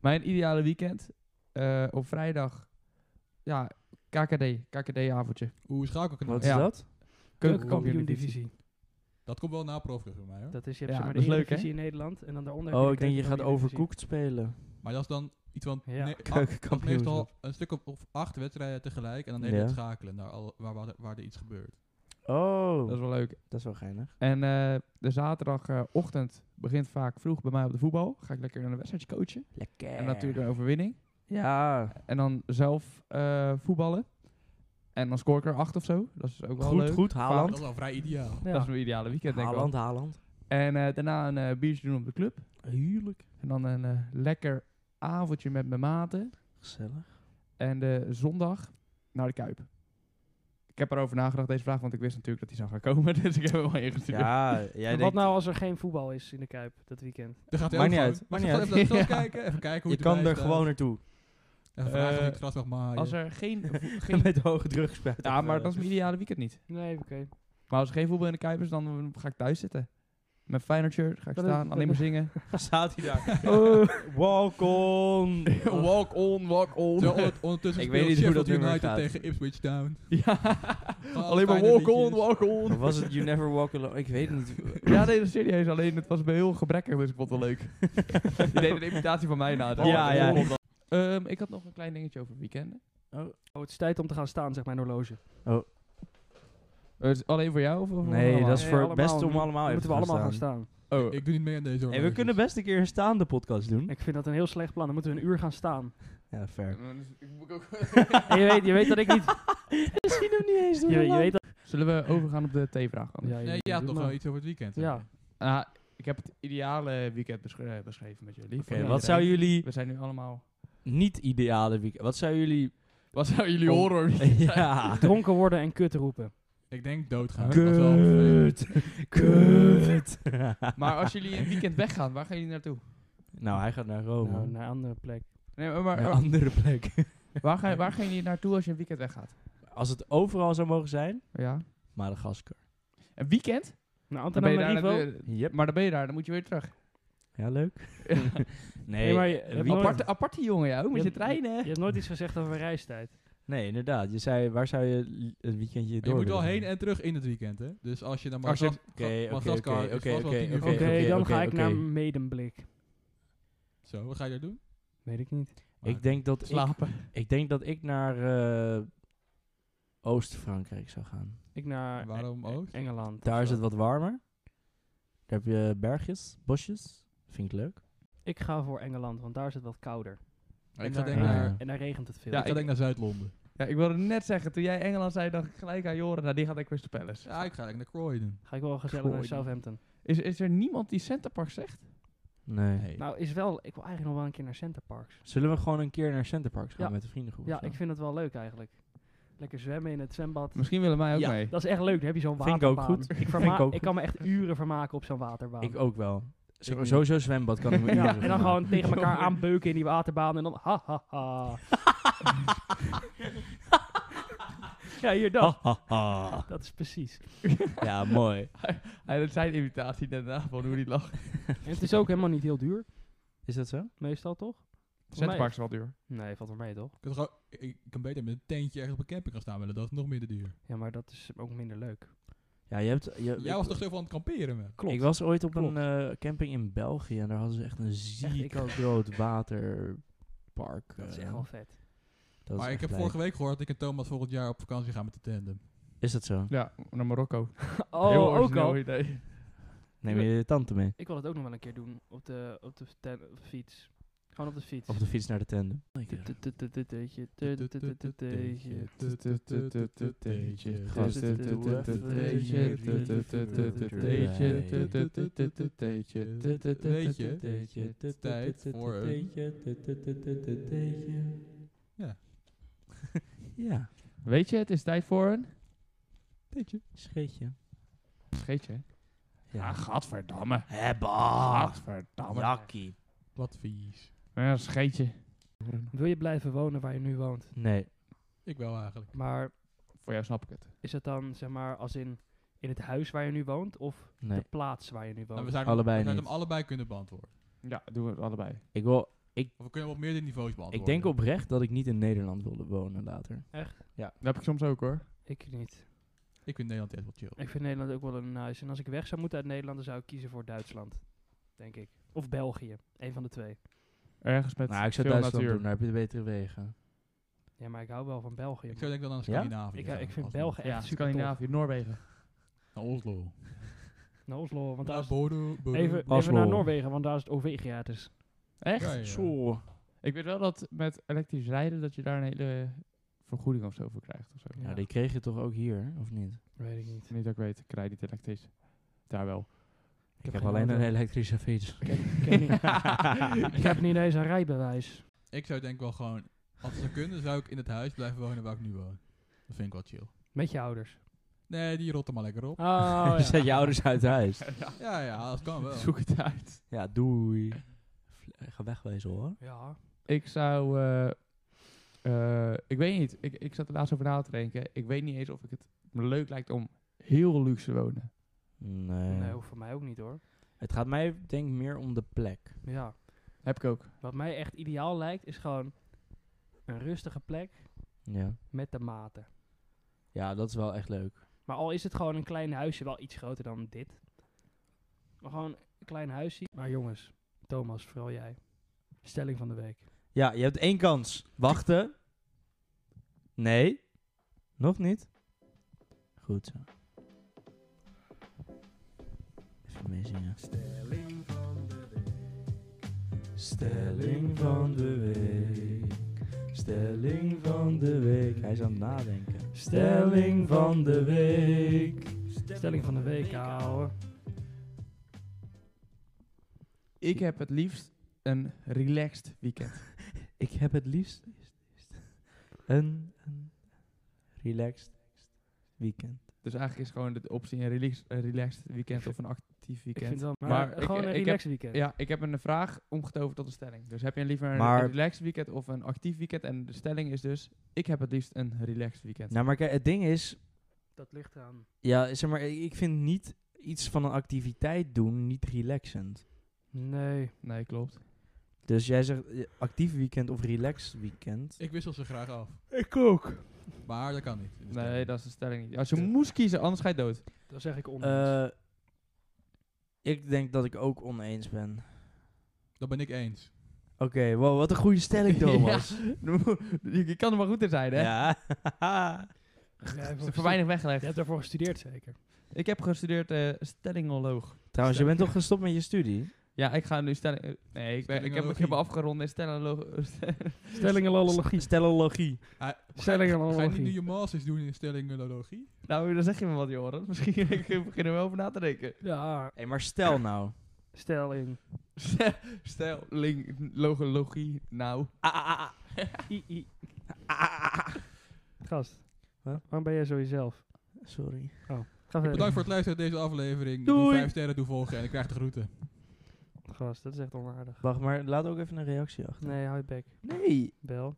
S5: Mijn ideale weekend eh, op vrijdag. Ja, KKD, KKD-avondje.
S4: Hoe schakelkanaal?
S1: Wat
S4: ik
S1: is
S5: Ja.
S1: dat?
S3: Keukenkampioen
S5: divisie.
S3: divisie.
S4: Dat komt wel na profclub bij mij hoor.
S3: Dat is, je hebt
S5: Ja,
S3: zeg maar
S5: dat
S3: de
S5: is leuk, hè?
S3: Eredivisie in Nederland en dan daaronder... heb
S1: Oh,
S3: de
S1: ik denk je gaat
S3: Keukenkampioen Eredivisie.
S1: overkoekt spelen.
S4: Maar dat is dan iets van
S3: Ja.
S4: nee, acht- dat is
S1: Keukenkampioen.
S4: meestal een stuk of, of acht wedstrijden tegelijk en dan even
S1: Ja.
S4: het schakelen naar al, waar, waar, waar er iets gebeurt.
S1: Oh,
S5: Dat is wel leuk.
S1: dat is wel geinig.
S5: En eh, de zaterdagochtend begint vaak vroeg bij mij op de voetbal. Ga ik lekker een wedstrijdje coachen.
S1: Lekker.
S5: En natuurlijk een overwinning.
S1: Ja,
S5: En dan zelf eh, voetballen. En dan scoor ik er acht of zo. Dat is ook wel
S1: goed,
S5: leuk.
S1: goed.
S4: Dat
S1: Haaland.
S4: is wel vrij ideaal.
S3: Ja.
S5: Dat is mijn ideale weekend, denk ik wel.
S1: Haaland, Haaland.
S5: En eh, daarna een eh, biertje doen op de club.
S1: Heerlijk.
S5: En dan een eh, lekker avondje met mijn maten.
S1: Gezellig.
S5: En de zondag naar de Kuip. Ik heb erover nagedacht deze vraag, want ik wist natuurlijk dat die zou gaan komen. Dus ik heb hem al ingestuurd.
S1: Ja, jij
S3: Maar
S1: denkt...
S3: wat nou als er geen voetbal is in de Kuip dat weekend?
S4: Dan gaat hij
S1: Maakt
S4: ook
S1: niet
S4: gewoon-
S1: uit, maakt
S4: Even-
S1: niet
S4: Even, even
S5: uit.
S4: kijken, even kijken hoe
S1: je
S4: het
S1: kan
S4: erbij
S1: er
S4: staat.
S1: gewoon naartoe.
S4: Even vragen of
S5: Eh,
S4: je het gras mag maaien.
S5: Als er geen... geen
S1: Met hoge eh, druk spuiten.
S5: ja, maar dat is mijn ideale weekend niet.
S3: Nee, oké.
S5: Maar als er geen voetbal in de Kuip is, dan ga ik thuis zitten. Met Feyenoord shirt ga ik
S3: Dat is-
S5: staan, alleen maar zingen.
S1: staat hij daar.
S3: Oh,
S1: Walk on.
S5: walk on, walk on.
S4: Terwijl on- ondertussen
S1: Ik weet niet hoe
S4: speelt Sheffield
S1: dat nummer
S4: United
S1: gaat.
S4: tegen Ipswich Town.
S5: ja,
S4: Alle
S5: alleen maar
S4: fijne
S5: walk on,
S4: liedjes.
S5: walk
S1: Of
S5: on.
S1: was het You Never Walk Alone? Ik weet niet.
S5: Ja, nee, dat is serieus. Alleen het was bij heel gebrekkig, dus ik vond het wel leuk. Je deed een imitatie van mij na.
S1: Ja, ja.
S5: Ehm, ik had nog een klein dingetje over weekenden.
S1: Oh.
S3: Oh, het is tijd om te gaan staan, zegt mijn horloge.
S5: Eh, is het alleen voor jou? Of voor
S1: Nee,
S5: allemaal?
S1: dat is voor het
S3: allemaal.
S1: beste om allemaal even
S3: Dan moeten we
S1: te
S3: allemaal gaan
S1: gaan
S3: staan.
S5: Oh,
S4: Ik doe niet mee aan deze
S1: Hey, we
S4: horloges.
S1: kunnen best een keer een staande podcast doen.
S3: Ik vind dat een heel slecht plan. Dan moeten we een uur gaan staan.
S1: Ja, fair.
S3: En je, weet, je weet dat ik niet...
S1: Ik zie hem niet eens
S3: Je, je weet dat...
S5: Zullen we overgaan op de T-vraag? dan?
S3: Ja,
S4: Nee,
S3: je-
S4: je had
S3: doe
S4: nog
S3: maar.
S4: wel iets over het weekend.
S3: Ja.
S5: Ah, ik heb het ideale weekend besch- eh, beschreven met jullie.
S1: Oké,
S5: Voor
S1: wat
S5: iedereen.
S1: zou jullie
S5: We zijn nu allemaal...
S1: niet-ideale weekend... Wat zou jullie...
S5: Wat zou jullie
S1: Om-
S5: horror
S1: ja.
S3: Dronken worden en kut roepen.
S4: Ik denk doodgaan. Dat is wel vervelend.
S1: Kut. Kut.
S5: Maar als jullie een weekend weggaan, waar gaan jullie naartoe?
S1: Nou, hij gaat naar Rome.
S3: Nou, naar een andere plek.
S5: Nee, maar, maar-
S1: Een andere plek.
S5: waar, ga, waar gaan jullie naartoe als je een weekend weggaat?
S1: Als het overal zou mogen zijn,
S5: Ja.
S1: Madagaskar.
S5: Een weekend?
S3: Naar
S5: Dan ben je
S3: Antananarivo.
S5: daar,
S1: Yep.
S5: maar dan ben je daar, dan moet je weer terug.
S1: Ja, leuk. Nee,
S3: Nee, maar je-
S1: een
S3: het
S1: weekend-
S5: Aparte, aparte jongen, ja. Hoe moet
S3: Je
S5: je
S3: hebt- Je
S5: treinen?
S3: hebt nooit iets gezegd over mijn reistijd.
S1: nee, inderdaad. Je zei, waar zou je li- het weekendje
S4: Maar
S1: door
S4: je moet wel
S1: willen
S4: heen
S1: gaan?
S4: en terug in het weekend, hè? Dus als je naar
S5: Als je-
S4: Madras-
S1: Oké,
S4: Ga-
S1: oké,
S4: Madagaskar
S1: oké,
S4: is vast wel
S1: oké,
S4: tien uur
S3: Oké,
S1: Oké,
S4: van tevoren.
S1: oké,
S3: dan
S1: oké,
S3: ga ik
S1: oké.
S3: naar Medemblik.
S4: Zo, wat ga je daar doen?
S3: Weet ik niet.
S1: Ik denk dat ik,
S5: Slapen.
S1: ik denk dat ik naar eh, Oost-Frankrijk zou gaan.
S3: Ik naar
S4: Waarom
S3: Eng-
S4: Oost?
S3: Engeland. of
S1: Daar is
S3: zo.
S1: het wat warmer. Daar heb je bergjes, bosjes. Vind ik leuk.
S3: Ik ga voor Engeland, want daar is het wat kouder.
S4: Ik ga
S3: daar-
S4: denk
S1: Ja.
S4: naar,
S1: Ja.
S4: ik
S3: En daar regent het veel.
S5: Ja,
S4: ga denk naar Zuid-Londen.
S5: Ja, ik wilde net zeggen, toen jij Engeland zei, dacht ik gelijk aan Joren. Nou, die gaat naar Crystal Palace.
S4: Ja, ik ga denk naar Croydon.
S3: Ga ik wel gezellig
S5: Goh,
S3: naar
S5: ik-
S3: Southampton.
S5: Is, is er niemand die Center Park zegt?
S1: Nee.
S4: Nee.
S3: Nou, is wel... Ik wil eigenlijk nog wel een keer naar Center Parks.
S1: Zullen we gewoon een keer naar Centerparks gaan
S3: Ja.
S1: met de vriendengroep?
S3: Ja,
S1: of zo?
S3: ik vind het wel leuk eigenlijk. Lekker zwemmen in het zwembad.
S5: Misschien willen mij ook
S1: Ja.
S5: mee.
S3: Dat is echt leuk. Dan heb je zo'n
S1: Vind ik
S3: waterbaan.
S1: ook goed.
S3: Ik,
S1: Vind ik
S3: verma-
S1: ook
S3: ik kan me echt uren vermaken op zo'n waterbaan.
S1: Ik ook wel. Zo-
S4: niet.
S1: sowieso zwembad kan ik me
S3: Ja,
S1: uren
S3: en dan
S1: van
S3: gewoon tegen elkaar
S5: Jongen.
S3: aanbeuken in die waterbaan en dan ha ha ha. ja, hier
S1: maken.
S3: dat.
S1: Ha, ha, ha.
S3: Dat is precies.
S1: Ja, mooi.
S5: Hij dat zijn imitatie net na van hoe die lacht.
S3: En het is ook helemaal niet heel duur,
S1: Is dat zo?
S3: meestal toch?
S5: Center Park is wel duur.
S3: Nee, valt wel mee toch?
S4: Ik kan, gewoon- ik- ik kan beter met een tentje ergens op een camping gaan staan willen. Dat is nog minder duur.
S3: Ja, maar dat is ook minder leuk.
S1: Ja, je hebt... Je,
S4: Jij
S1: Eh, ik-
S4: was toch zo van het kamperen, man?
S3: Klopt.
S1: Ik was ooit op
S3: Klopt.
S1: een eh, camping in België en daar hadden ze echt een ziek
S3: ik ook.
S1: groot waterpark.
S3: dat is
S1: eh,
S3: echt wel vet.
S1: dat is
S4: Maar ik
S1: echt
S4: heb
S1: lijp.
S4: vorige week gehoord dat ik en Thomas volgend jaar op vakantie gaan met de tandem.
S1: Is dat zo?
S5: Ja, naar Marokko.
S3: Oh, ook al.
S5: Idee.
S1: Neem je je tante mee?
S3: Ik wil het ook nog wel een keer doen op de, op de ten- op de fiets. Gewoon op de fiets.
S1: Op de fiets naar de tandem.
S4: Tijd voor een- Ja.
S1: Ja,
S5: Weet je, het is tijd voor een...
S4: Teentje.
S1: scheetje.
S5: Scheetje. hè?
S1: Ja. Ah. Nou,
S5: Ah, gadverdamme.
S1: Hebba!
S5: Gadverdamme.
S1: Jakkie.
S4: Wat vies.
S5: Ja, een scheetje.
S3: Wil je blijven wonen waar je nu woont?
S1: Nee,
S4: Ik wel eigenlijk.
S3: Maar
S5: Voor jou snap ik het.
S3: is het dan zeg maar als in in het huis waar je nu woont of
S1: nee.
S3: de plaats waar je nu
S4: Nou,
S3: woont?
S4: we zouden
S1: Allebei
S4: we zouden
S1: niet.
S4: hem allebei kunnen beantwoorden.
S5: Ja, doen we het allebei.
S1: Ik, wil,
S4: Of we kunnen hem op meerdere niveaus beantwoorden.
S1: ik denk oprecht dat ik niet in Nederland wilde wonen later.
S5: Dat heb ik soms ook hoor.
S3: Ik niet.
S4: Ik vind Nederland echt wel chill.
S3: Ik vind Nederland ook wel een huis. En als ik weg zou moeten uit Nederland, dan zou ik kiezen voor Duitsland. Denk ik. Of België. Een van de twee.
S5: Ergens met
S1: Nou, ik zou
S5: veel
S1: Duitsland
S5: natuur.
S1: doen, daar heb je de betere wegen.
S3: Ja, maar ik hou wel van België.
S4: Ik
S3: man.
S4: zou denk dan aan
S1: Ja?
S4: Scandinavië
S3: Ik,
S4: gaan,
S3: ik vind
S4: Oslo.
S3: België
S5: Ja,
S3: echt super tof.
S5: Scandinavië, Noorwegen.
S4: Naar Oslo.
S3: Naar Oslo, want daar
S4: Naar
S3: is...
S4: Bodo. Bodo.
S3: Even, even
S1: Oslo.
S3: naar Noorwegen, want daar is het OV gratis.
S5: Echt?
S4: Ja, ja, ja.
S5: Ik weet wel dat met elektrisch rijden dat je daar een hele vergoeding of zo voor krijgt of zo.
S1: Nou, die kreeg je toch ook hier, of niet?
S3: Weet ik niet.
S5: Niet dat ik weet, ik rijd niet elektrisch. Daar wel.
S1: Ik,
S3: heb
S1: heb
S3: geen
S1: alleen een
S3: auto.
S1: elektrische fiets.
S3: Ik heb niet- ik heb niet eens een rijbewijs.
S4: Ik zou denk wel gewoon... Als het zou kunnen, zou ik in het huis blijven wonen waar ik nu woon. Dat vind ik wel chill.
S3: Met je ouders.
S4: Nee, die rotten maar lekker op.
S3: Oh, ja.
S1: Dus Zet je ouders uit huis.
S4: Ja, ja, dat kan wel.
S5: Zoek het uit.
S1: Ja, doei. Vle- Ga wegwezen hoor.
S3: Ja.
S5: Ik zou. eh, eh, ik weet niet. Ik, ik zat er laatst over na te denken. Ik weet niet eens of ik het me leuk lijkt om heel luxe te wonen.
S1: Nee.
S3: Nee, hoeft voor mij ook niet hoor.
S1: Het gaat mij denk ik meer om de plek.
S3: Ja.
S5: Heb ik ook.
S3: Wat mij echt ideaal lijkt, is gewoon een rustige plek
S1: Ja.
S3: met de maten.
S1: Ja, dat is wel echt leuk.
S3: Maar al is het gewoon een klein huisje, wel iets groter dan dit. Maar gewoon een klein huisje. Maar jongens, Thomas, vooral jij. Stelling van de week.
S1: Ja, je hebt één kans. Wachten. Nee. Nog niet. Goed zo. Even meezingen.
S2: Stelling van de
S1: Stelling van de week. Stelling van de week. Hij is aan het nadenken. Stelling van de week.
S2: week.
S3: Stelling van de week, ouwe.
S5: Ik heb het liefst een relaxed weekend.
S1: Ik heb het liefst een, een relaxed weekend.
S5: Dus eigenlijk is gewoon de optie een relax- een relaxed weekend of een actief
S3: Ik vind
S5: weekend.
S3: wel, maar,
S5: Maar ik-
S3: gewoon een
S5: ik heb-
S3: relaxed weekend.
S5: Ja, ik heb een vraag omgetoverd tot een stelling. Dus heb je liever een
S1: Maar-
S5: relaxed weekend of een actief weekend? En de stelling is dus, ik heb het liefst een relaxed weekend.
S1: Nou, maar kijk, het ding is,
S3: Dat ligt aan.
S1: ja, zeg maar, ik ik vind niet iets van een activiteit doen niet relaxend.
S3: Nee.
S5: Nee, klopt.
S1: Dus jij zegt eh, actief weekend of relaxed weekend.
S4: Ik wissel ze graag af.
S3: Ik ook.
S4: Maar dat kan niet. Dus in de
S5: Nee,
S4: stelling.
S5: dat is de stelling niet. Als je moest kiezen, anders ga je dood.
S3: Dan zeg ik oneens.
S1: Eh, ik denk dat ik ook oneens ben.
S4: Dat ben ik eens.
S1: Oké, wow, wat een goede stelling, Thomas.
S5: je, je kan er maar goed in zijn, hè?
S1: ja.
S3: Jij hebt
S5: Het is
S3: ervoor
S5: voor weinig
S3: gestu-
S5: weggelegd.
S3: Je hebt daarvoor gestudeerd zeker.
S5: Ik heb gestudeerd eh stellingoloog.
S1: Trouwens, je bent toch gestopt met je studie?
S5: Ja, ik ga nu stelling... eh, Nee, ik, ben, ik, heb, ik heb
S4: Stellingologie.
S5: afgerond in stellingoloog.
S3: Stellingenologie.
S1: Stellologie.
S4: Ga je niet nu
S3: Stellingenologie.
S4: je masters doen in stellingologie?
S5: nou, dan zeg je me wat, Joran. Misschien beginnen we wel over na te denken.
S3: Ja,
S1: Hé, maar stel nou.
S3: stelling.
S5: Stellingologie, nou.
S3: I, I. Gast, waarom ben jij zo jezelf?
S1: Sorry.
S3: Ga verder.
S4: Bedankt voor het luisteren naar deze aflevering. Doe
S3: Doei.
S4: 5 sterren toevolgen en ik krijg de groeten.
S3: Gast, dat is echt onaardig.
S1: Wacht, maar laat ook even een reactie achter.
S3: Nee, hou je bek.
S1: Nee.
S3: Bel.